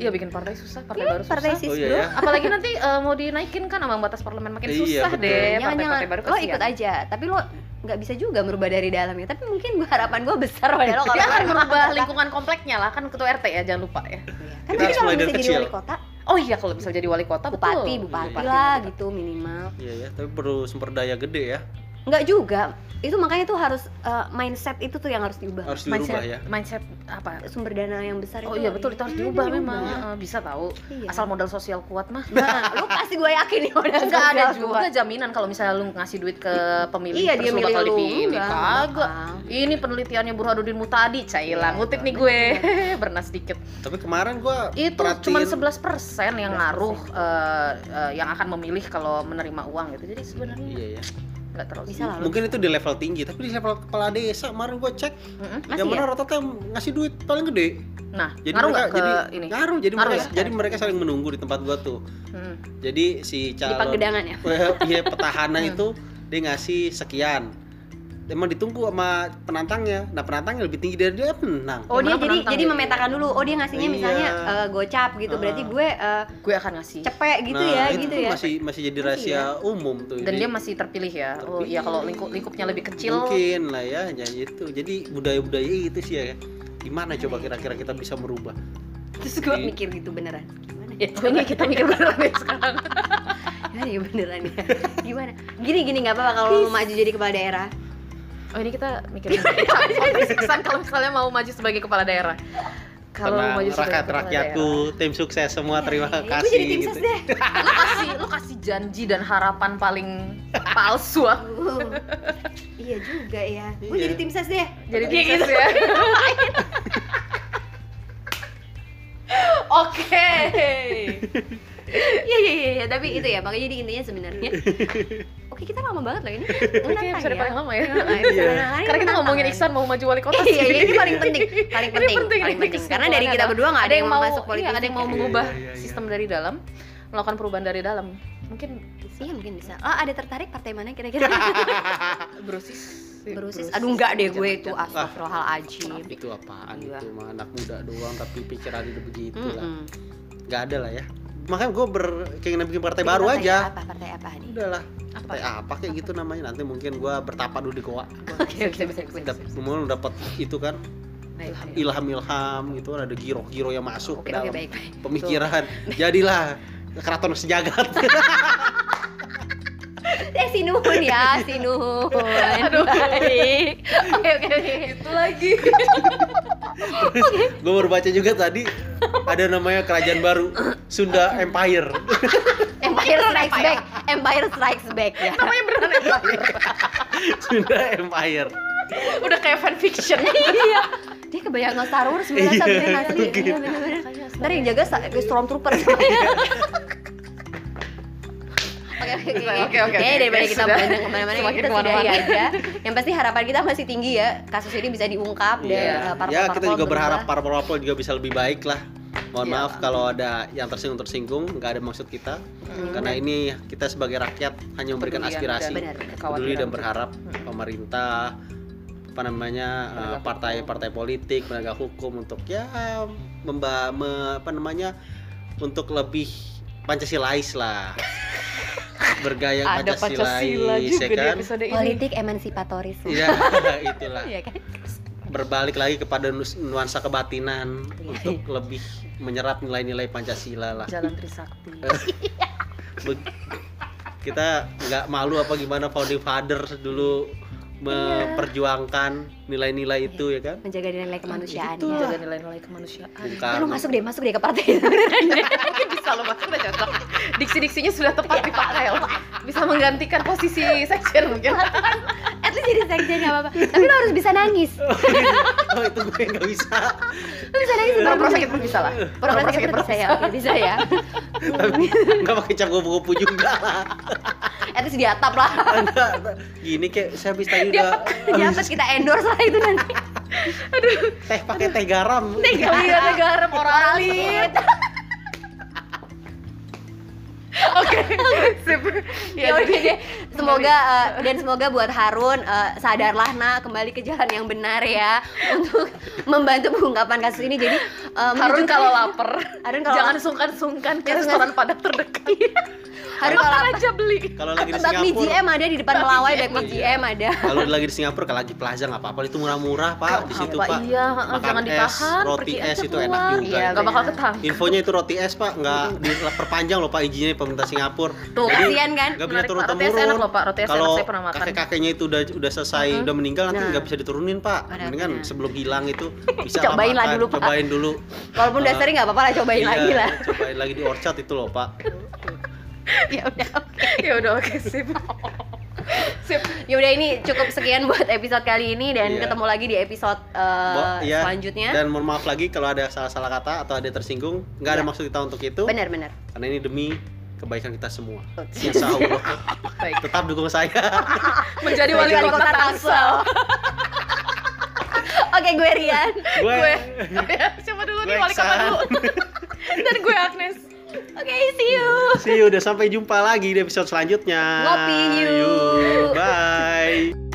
Speaker 2: Iya bikin partai susah, partai baru susah.
Speaker 1: partai sis
Speaker 3: Oh iya
Speaker 1: bro
Speaker 3: ya.
Speaker 2: Apalagi nanti eh, mau dinaikin kan ambang batas parlemen makin
Speaker 3: Iya,
Speaker 2: susah
Speaker 3: betul.
Speaker 2: deh.
Speaker 1: jangan jangan
Speaker 2: Partai-partai baru
Speaker 1: lo ikut aja tapi lo nggak bisa juga merubah dari dalamnya tapi mungkin gua harapan gue besar pada lo kalau
Speaker 2: *laughs* Dia akan
Speaker 1: lo-
Speaker 2: merubah lingkungan kompleknya lah kan ketua RT ya jangan lupa ya.
Speaker 1: Iya, Kan
Speaker 3: Kita
Speaker 1: jadi
Speaker 3: harus
Speaker 1: kalau
Speaker 3: mulai dari
Speaker 1: misalnya jadi
Speaker 3: kecil.
Speaker 1: wali kota,
Speaker 2: Oh iya kalau misal jadi wali kota
Speaker 1: bupati,
Speaker 2: betul.
Speaker 1: bupati,
Speaker 3: Bupati,
Speaker 1: lah
Speaker 2: bupati.
Speaker 1: gitu minimal.
Speaker 3: Iya ya, tapi perlu sumber daya gede ya.
Speaker 1: Nggak juga. Itu makanya tuh harus eh, mindset itu tuh yang harus diubah.
Speaker 3: Harus dirubah ya.
Speaker 2: mindset apa?
Speaker 1: Sumber dana yang besar
Speaker 2: Oh
Speaker 1: itu.
Speaker 2: iya betul itu harus
Speaker 1: Iya,
Speaker 2: diubah memang.
Speaker 1: diubah.
Speaker 2: Eh, bisa tahu.
Speaker 1: Iya.
Speaker 2: Asal modal sosial kuat mah.
Speaker 1: Nah, lu pasti gue yakin nih udah
Speaker 2: Enggak ada
Speaker 1: sosial
Speaker 2: juga
Speaker 1: kuat.
Speaker 2: jaminan kalau misalnya lu ngasih duit ke pemilih
Speaker 1: Iya,
Speaker 2: terus
Speaker 1: dia
Speaker 2: lu
Speaker 1: milih
Speaker 2: bakal
Speaker 1: lu.
Speaker 2: dipilih.
Speaker 1: Enggak,
Speaker 2: Kagak.
Speaker 1: bakal.
Speaker 2: Ini penelitiannya Burhanuddin Mutadi, Cailah.
Speaker 1: Iya,
Speaker 2: Ngutip nih
Speaker 1: bener.
Speaker 2: gue. *laughs* Berenah sedikit.
Speaker 3: Tapi kemarin gua
Speaker 2: Itu cuma 11%
Speaker 1: 11%.
Speaker 2: yang ngaruh eh, eh, yang akan memilih kalau menerima uang gitu. Jadi sebenarnya
Speaker 3: Iya ya.
Speaker 2: nggak terlalu
Speaker 1: Bisa lah.
Speaker 3: Mungkin itu di level tinggi, tapi di level kepala desa kemarin gua cek
Speaker 2: Mm-mm.
Speaker 1: Masih
Speaker 3: yang
Speaker 1: ya?
Speaker 3: mana rata-rata yang ngasih duit paling gede.
Speaker 2: Nah,
Speaker 3: Jadi
Speaker 2: ngaruh
Speaker 3: mereka
Speaker 2: nggak ke
Speaker 3: jadi
Speaker 2: ini?
Speaker 3: ngaruh, jadi
Speaker 2: Ngaruh
Speaker 3: mereka
Speaker 2: ya?
Speaker 3: jadi mereka saling menunggu di tempat gua tuh.
Speaker 2: Mm.
Speaker 3: Jadi si
Speaker 1: Di
Speaker 3: *laughs* calon
Speaker 1: Pagedangan ya.
Speaker 3: iya petahana
Speaker 2: Hmm.
Speaker 3: itu dia ngasih sekian. Emang ditunggu sama penantangnya. Nah, penantangnya lebih tinggi dari dia menang.
Speaker 1: Oh dia jadi
Speaker 2: Gimana penantang
Speaker 1: jadi
Speaker 2: gitu?
Speaker 1: memetakan dulu. Oh dia ngasihnya
Speaker 3: Iya.
Speaker 1: misalnya eh, gocap gitu. Berarti
Speaker 3: Ah.
Speaker 1: gue eh,
Speaker 2: Gue akan ngasih.
Speaker 1: cepek gitu
Speaker 3: nah,
Speaker 1: ya
Speaker 3: itu
Speaker 1: gitu
Speaker 3: tuh
Speaker 1: ya.
Speaker 3: masih masih jadi
Speaker 1: Masih
Speaker 3: rahasia umum tuh.
Speaker 2: Dan
Speaker 3: Jadi
Speaker 2: dia masih terpilih ya. Oh iya kalau lingkup lingkupnya lebih kecil.
Speaker 3: Mungkin lah ya, ya itu. Jadi budaya-budaya itu sih ya. Gimana coba kira-kira kita bisa merubah?
Speaker 1: Terus gue
Speaker 3: Di-
Speaker 1: mikir gitu beneran. Gimana ya?
Speaker 2: Oh, ini kita mikir beneran ya sekarang.
Speaker 1: Gimana ya beneran *laughs* ya? Gimana? Gini gini nggak apa-apa kalau mau maju jadi kepala daerah.
Speaker 2: Oh ini kita mikir *laughs* Iya, kesan kalau misalnya mau maju sebagai kepala daerah. Kalau mau
Speaker 3: Tenang,
Speaker 2: maju sebagai
Speaker 3: rakyat
Speaker 2: kepala
Speaker 3: rakyatku, tim sukses semua terima
Speaker 1: Iya,
Speaker 3: kasih.
Speaker 1: Gue jadi tim
Speaker 3: gitu.
Speaker 1: ses *laughs* deh.
Speaker 2: daerah. Lu kasih lu kasih janji dan harapan
Speaker 3: *laughs*
Speaker 2: paling palsu ah.
Speaker 1: Uh, iya juga ya. Gue
Speaker 3: Iya.
Speaker 1: jadi tim ses deh.
Speaker 2: Jadi
Speaker 1: Iya,
Speaker 2: tim ses ya. Oke.
Speaker 1: Iya iya iya, iya. tapi itu ya makanya jadi intinya *laughs* sebenarnya. Oke kita lama banget loh ini.
Speaker 2: Ini
Speaker 1: Menantang
Speaker 2: episode
Speaker 1: ya.
Speaker 2: paling lama ya.
Speaker 1: Nah, episode
Speaker 3: Iya.
Speaker 1: menantang ini
Speaker 2: Karena kita
Speaker 1: menantang
Speaker 2: ngomongin
Speaker 1: kan.
Speaker 2: Iksan mau maju wali kota
Speaker 1: *laughs*
Speaker 2: sih.
Speaker 1: Iya, iya, ini paling penting, paling penting,
Speaker 2: Ini penting,
Speaker 1: paling
Speaker 2: ini
Speaker 1: penting. Karena dari
Speaker 2: kesimpulannya
Speaker 1: kita
Speaker 2: adalah
Speaker 1: berdua nggak ada yang mau masuk politik.
Speaker 2: iya, ada yang mau
Speaker 3: kan?
Speaker 2: mengubah
Speaker 3: Iya, iya, iya.
Speaker 2: sistem dari dalam, melakukan perubahan dari dalam. Mungkin
Speaker 1: Iya mungkin bisa. Oh ada tertarik partai mana *laughs* kira-kira?
Speaker 2: brosis.
Speaker 1: Berusis. Aduh enggak deh gue itu
Speaker 2: Jangan-jangan.
Speaker 1: astagfirullahaladzim.
Speaker 3: Itu apaan
Speaker 1: Iya.
Speaker 3: itu mah anak muda doang tapi pikirannya udah begitu lah.
Speaker 1: Mm-mm.
Speaker 3: Gak ada lah ya. Makanya gue berkeinginan bikin partai
Speaker 1: Jadi
Speaker 3: baru
Speaker 1: partai
Speaker 3: aja.
Speaker 1: Apa partai apa nih?
Speaker 3: Udahlah,
Speaker 2: Apa?
Speaker 3: partai apa kayak gitu namanya. Nanti mungkin gue bertapa dulu di goa.
Speaker 2: Oke, oke, bisa, bisa,
Speaker 1: Iya,
Speaker 2: bisa, Nah,
Speaker 3: Dap-
Speaker 2: bisa.
Speaker 3: Kemudian dapat itu kan
Speaker 2: Baik, baik.
Speaker 3: ilham-ilham gitu kan ada giro-giro yang masuk
Speaker 1: Oke
Speaker 3: ke
Speaker 1: oke
Speaker 3: dalam
Speaker 1: baik baik.
Speaker 3: pemikiran. *laughs* Jadilah keraton sejagat.
Speaker 1: Eh sinuhun ya sinuhun. *laughs* Aduh baik. Oke oke oke.
Speaker 2: Itu lagi.
Speaker 3: gue baru baca juga
Speaker 1: *laughs*
Speaker 3: tadi ada namanya kerajaan baru Sunda
Speaker 1: *laughs*
Speaker 3: Empire
Speaker 1: Empire Strikes Back. Empire Strikes Back ya.
Speaker 2: Namanya beneran Empire.
Speaker 3: Sunda Empire
Speaker 2: Udah kayak fanfiction.
Speaker 1: Iya. Dia kebayang nggak Star Wars beneran
Speaker 3: Iya,
Speaker 1: beneran asli.
Speaker 3: mungkin.
Speaker 1: Iya bener-bener. Ntar yang jaga sa- stormtrooper. Oke oke
Speaker 2: Oke,
Speaker 1: oke.
Speaker 2: oke,
Speaker 1: Ya
Speaker 2: oke.
Speaker 1: daripada kita
Speaker 2: Sudah.
Speaker 1: bandang kemana-mana
Speaker 2: Semakin
Speaker 1: kita
Speaker 2: kemana-mana.
Speaker 1: sudahi aja. Yang pasti harapan kita masih tinggi ya. Kasus ini bisa diungkap dan
Speaker 3: Iya.
Speaker 2: eh,
Speaker 1: uh, parpol-parpol
Speaker 3: ya kita juga
Speaker 1: berubah.
Speaker 3: berharap parpol-parpol juga bisa lebih baik lah mohon
Speaker 2: Iya.
Speaker 3: maaf kalau ada yang tersinggung tersinggung nggak ada maksud kita karena ini kita sebagai rakyat hanya memberikan
Speaker 2: Kepedulian
Speaker 3: aspirasi
Speaker 1: dan-
Speaker 3: peduli dan berharap
Speaker 2: Hmm.
Speaker 3: pemerintah apa namanya
Speaker 2: Penegak
Speaker 3: eh, partai-partai politik penegak hukum untuk ya memba me- apa namanya untuk lebih pancasilais
Speaker 2: *laughs*
Speaker 3: lah bergaya
Speaker 2: Ada Pancasila
Speaker 3: pancasilais
Speaker 2: juga
Speaker 3: ya
Speaker 2: di
Speaker 3: kan
Speaker 2: episode ini.
Speaker 1: Politik emansipatoris.
Speaker 3: ya *laughs* itulah
Speaker 1: Iya kan?
Speaker 3: berbalik lagi kepada nus- nuansa kebatinan
Speaker 1: Iya,
Speaker 3: untuk lebih menyerap nilai-nilai pancasila lah
Speaker 2: Jalan Trisakti.
Speaker 3: Be- kita nggak malu apa gimana founding fathers dulu memperjuangkan nilai-nilai itu ya kan
Speaker 1: Menjaga nilai kemanusiaan.
Speaker 3: Gitu. Nah,
Speaker 1: Ya.
Speaker 2: Jaga nilai-nilai kemanusiaan.
Speaker 1: Ya,
Speaker 3: Bung
Speaker 1: lu
Speaker 3: Karno.
Speaker 1: masuk deh, masuk deh ke partai *laughs* itu.
Speaker 2: *laughs* Mungkin bisa lo masuk udah cocok. Diksi-diksinya sudah tepat dipakai loh. Bisa menggantikan posisi sekjen mungkin.
Speaker 1: At least jadi sekjen gak apa-apa. Tapi lo harus bisa nangis.
Speaker 3: *laughs* oh itu gue nggak bisa
Speaker 1: Lo bisa nangis
Speaker 2: Pura-pura
Speaker 1: sebentar.
Speaker 2: sakit pun bisa lah.
Speaker 1: Pura-pura sakit perut bisa ya, oke bisa ya.
Speaker 3: nggak pakai canggung-canggung juga lah
Speaker 1: At least diatap lah. *laughs*
Speaker 3: Nggak, gini kayak saya habis tadi udah
Speaker 1: Diatap kita endorse lah itu nanti.
Speaker 3: teh pakai teh garam
Speaker 1: Iya,
Speaker 2: Negara, negara, moralit.
Speaker 1: *laughs*
Speaker 2: Oke, sip.
Speaker 1: *laughs* Ya,
Speaker 2: Ya,
Speaker 1: udah deh.
Speaker 2: jadi
Speaker 1: Semoga
Speaker 2: Iya,
Speaker 1: eh, dan semoga buat Harun eh, sadarlah nak kembali ke jalan yang benar ya *laughs* untuk membantu pengungkapan kasus ini. Jadi eh,
Speaker 2: Harun
Speaker 1: menuju-
Speaker 2: kalau lapar,
Speaker 1: Harun kalau Ya, Iya.
Speaker 2: jangan sungkan-sungkan ke
Speaker 1: Jangan
Speaker 2: restoran Padang terdekat.
Speaker 1: Harun kalau
Speaker 2: Makan aja beli.
Speaker 3: Kalau lagi di
Speaker 1: bakmi
Speaker 3: Singapura,
Speaker 1: GM ada di depan Melawai bakmi
Speaker 3: iya.
Speaker 1: GM ada.
Speaker 3: kalau lagi di Singapura kalau lagi plaza nggak apa-apa itu murah-murah Pak di situ
Speaker 2: Apa,
Speaker 3: Pak.
Speaker 2: Iya, heeh,
Speaker 3: Makan
Speaker 2: jangan
Speaker 3: es,
Speaker 2: ditahan.
Speaker 3: roti
Speaker 2: pergi
Speaker 3: es
Speaker 2: aja
Speaker 3: itu enak
Speaker 2: keluar.
Speaker 3: juga.
Speaker 2: Iya,
Speaker 1: Iya,
Speaker 2: Gak bakal
Speaker 1: benar.
Speaker 2: ketangkep.
Speaker 3: Infonya itu roti es Pak, nggak diperpanjang loh Pak izinnya pemerintah Singapura.
Speaker 2: Tuh,
Speaker 3: Jadi,
Speaker 1: Kasihan kan?
Speaker 3: nggak bisa
Speaker 2: Menarik,
Speaker 3: turun
Speaker 2: Pak. Roti es
Speaker 3: temurun.
Speaker 2: enak loh Pak, roti es enak
Speaker 3: Kalau
Speaker 2: saya pernah makan.
Speaker 3: kakek-kakeknya itu udah udah selesai,
Speaker 2: Mhm.
Speaker 3: udah meninggal nanti
Speaker 1: Nah.
Speaker 3: nggak bisa diturunin Pak.
Speaker 1: Benar,
Speaker 3: Mendingan
Speaker 1: benar.
Speaker 3: sebelum hilang itu
Speaker 2: *laughs*
Speaker 3: bisa
Speaker 1: Cobain lah
Speaker 3: makan,
Speaker 1: dulu, Pak.
Speaker 3: Cobain dulu.
Speaker 1: Walaupun udah
Speaker 3: Eh,
Speaker 1: sering nggak apa-apa lah cobain
Speaker 3: Iya,
Speaker 1: lagi lah. *laughs*
Speaker 3: Cobain lagi di Orchard itu loh Pak.
Speaker 1: ya udah.
Speaker 2: *laughs* Ya udah oke sip. *laughs* sip.
Speaker 1: Ya udah ini cukup sekian buat episode kali ini dan
Speaker 3: Iya.
Speaker 1: ketemu lagi di episode eh,
Speaker 3: Bo- iya.
Speaker 1: selanjutnya.
Speaker 3: Dan mohon maaf lagi kalau ada salah-salah kata atau ada tersinggung, nggak ada
Speaker 1: Iya.
Speaker 3: maksud kita untuk itu.
Speaker 1: Benar-benar.
Speaker 3: Karena ini demi kebaikan kita semua.
Speaker 1: Oke.
Speaker 3: Insya Allah.
Speaker 2: *laughs* Baik.
Speaker 3: Tetap dukung saya.
Speaker 2: Menjadi wali
Speaker 1: Wali
Speaker 2: kota
Speaker 1: kota
Speaker 2: *laughs* Tangsel.
Speaker 1: Oke, gue Rian.
Speaker 2: Gue. *laughs* Siapa dulu nih
Speaker 3: Gue
Speaker 2: wali kota
Speaker 3: Iksan. *laughs*
Speaker 2: dulu? Dan gue Agnes.
Speaker 1: Oke, see you.
Speaker 3: See you, udah sampai jumpa lagi di episode selanjutnya.
Speaker 1: Ngopi, yuk.
Speaker 3: Yuk, Bye.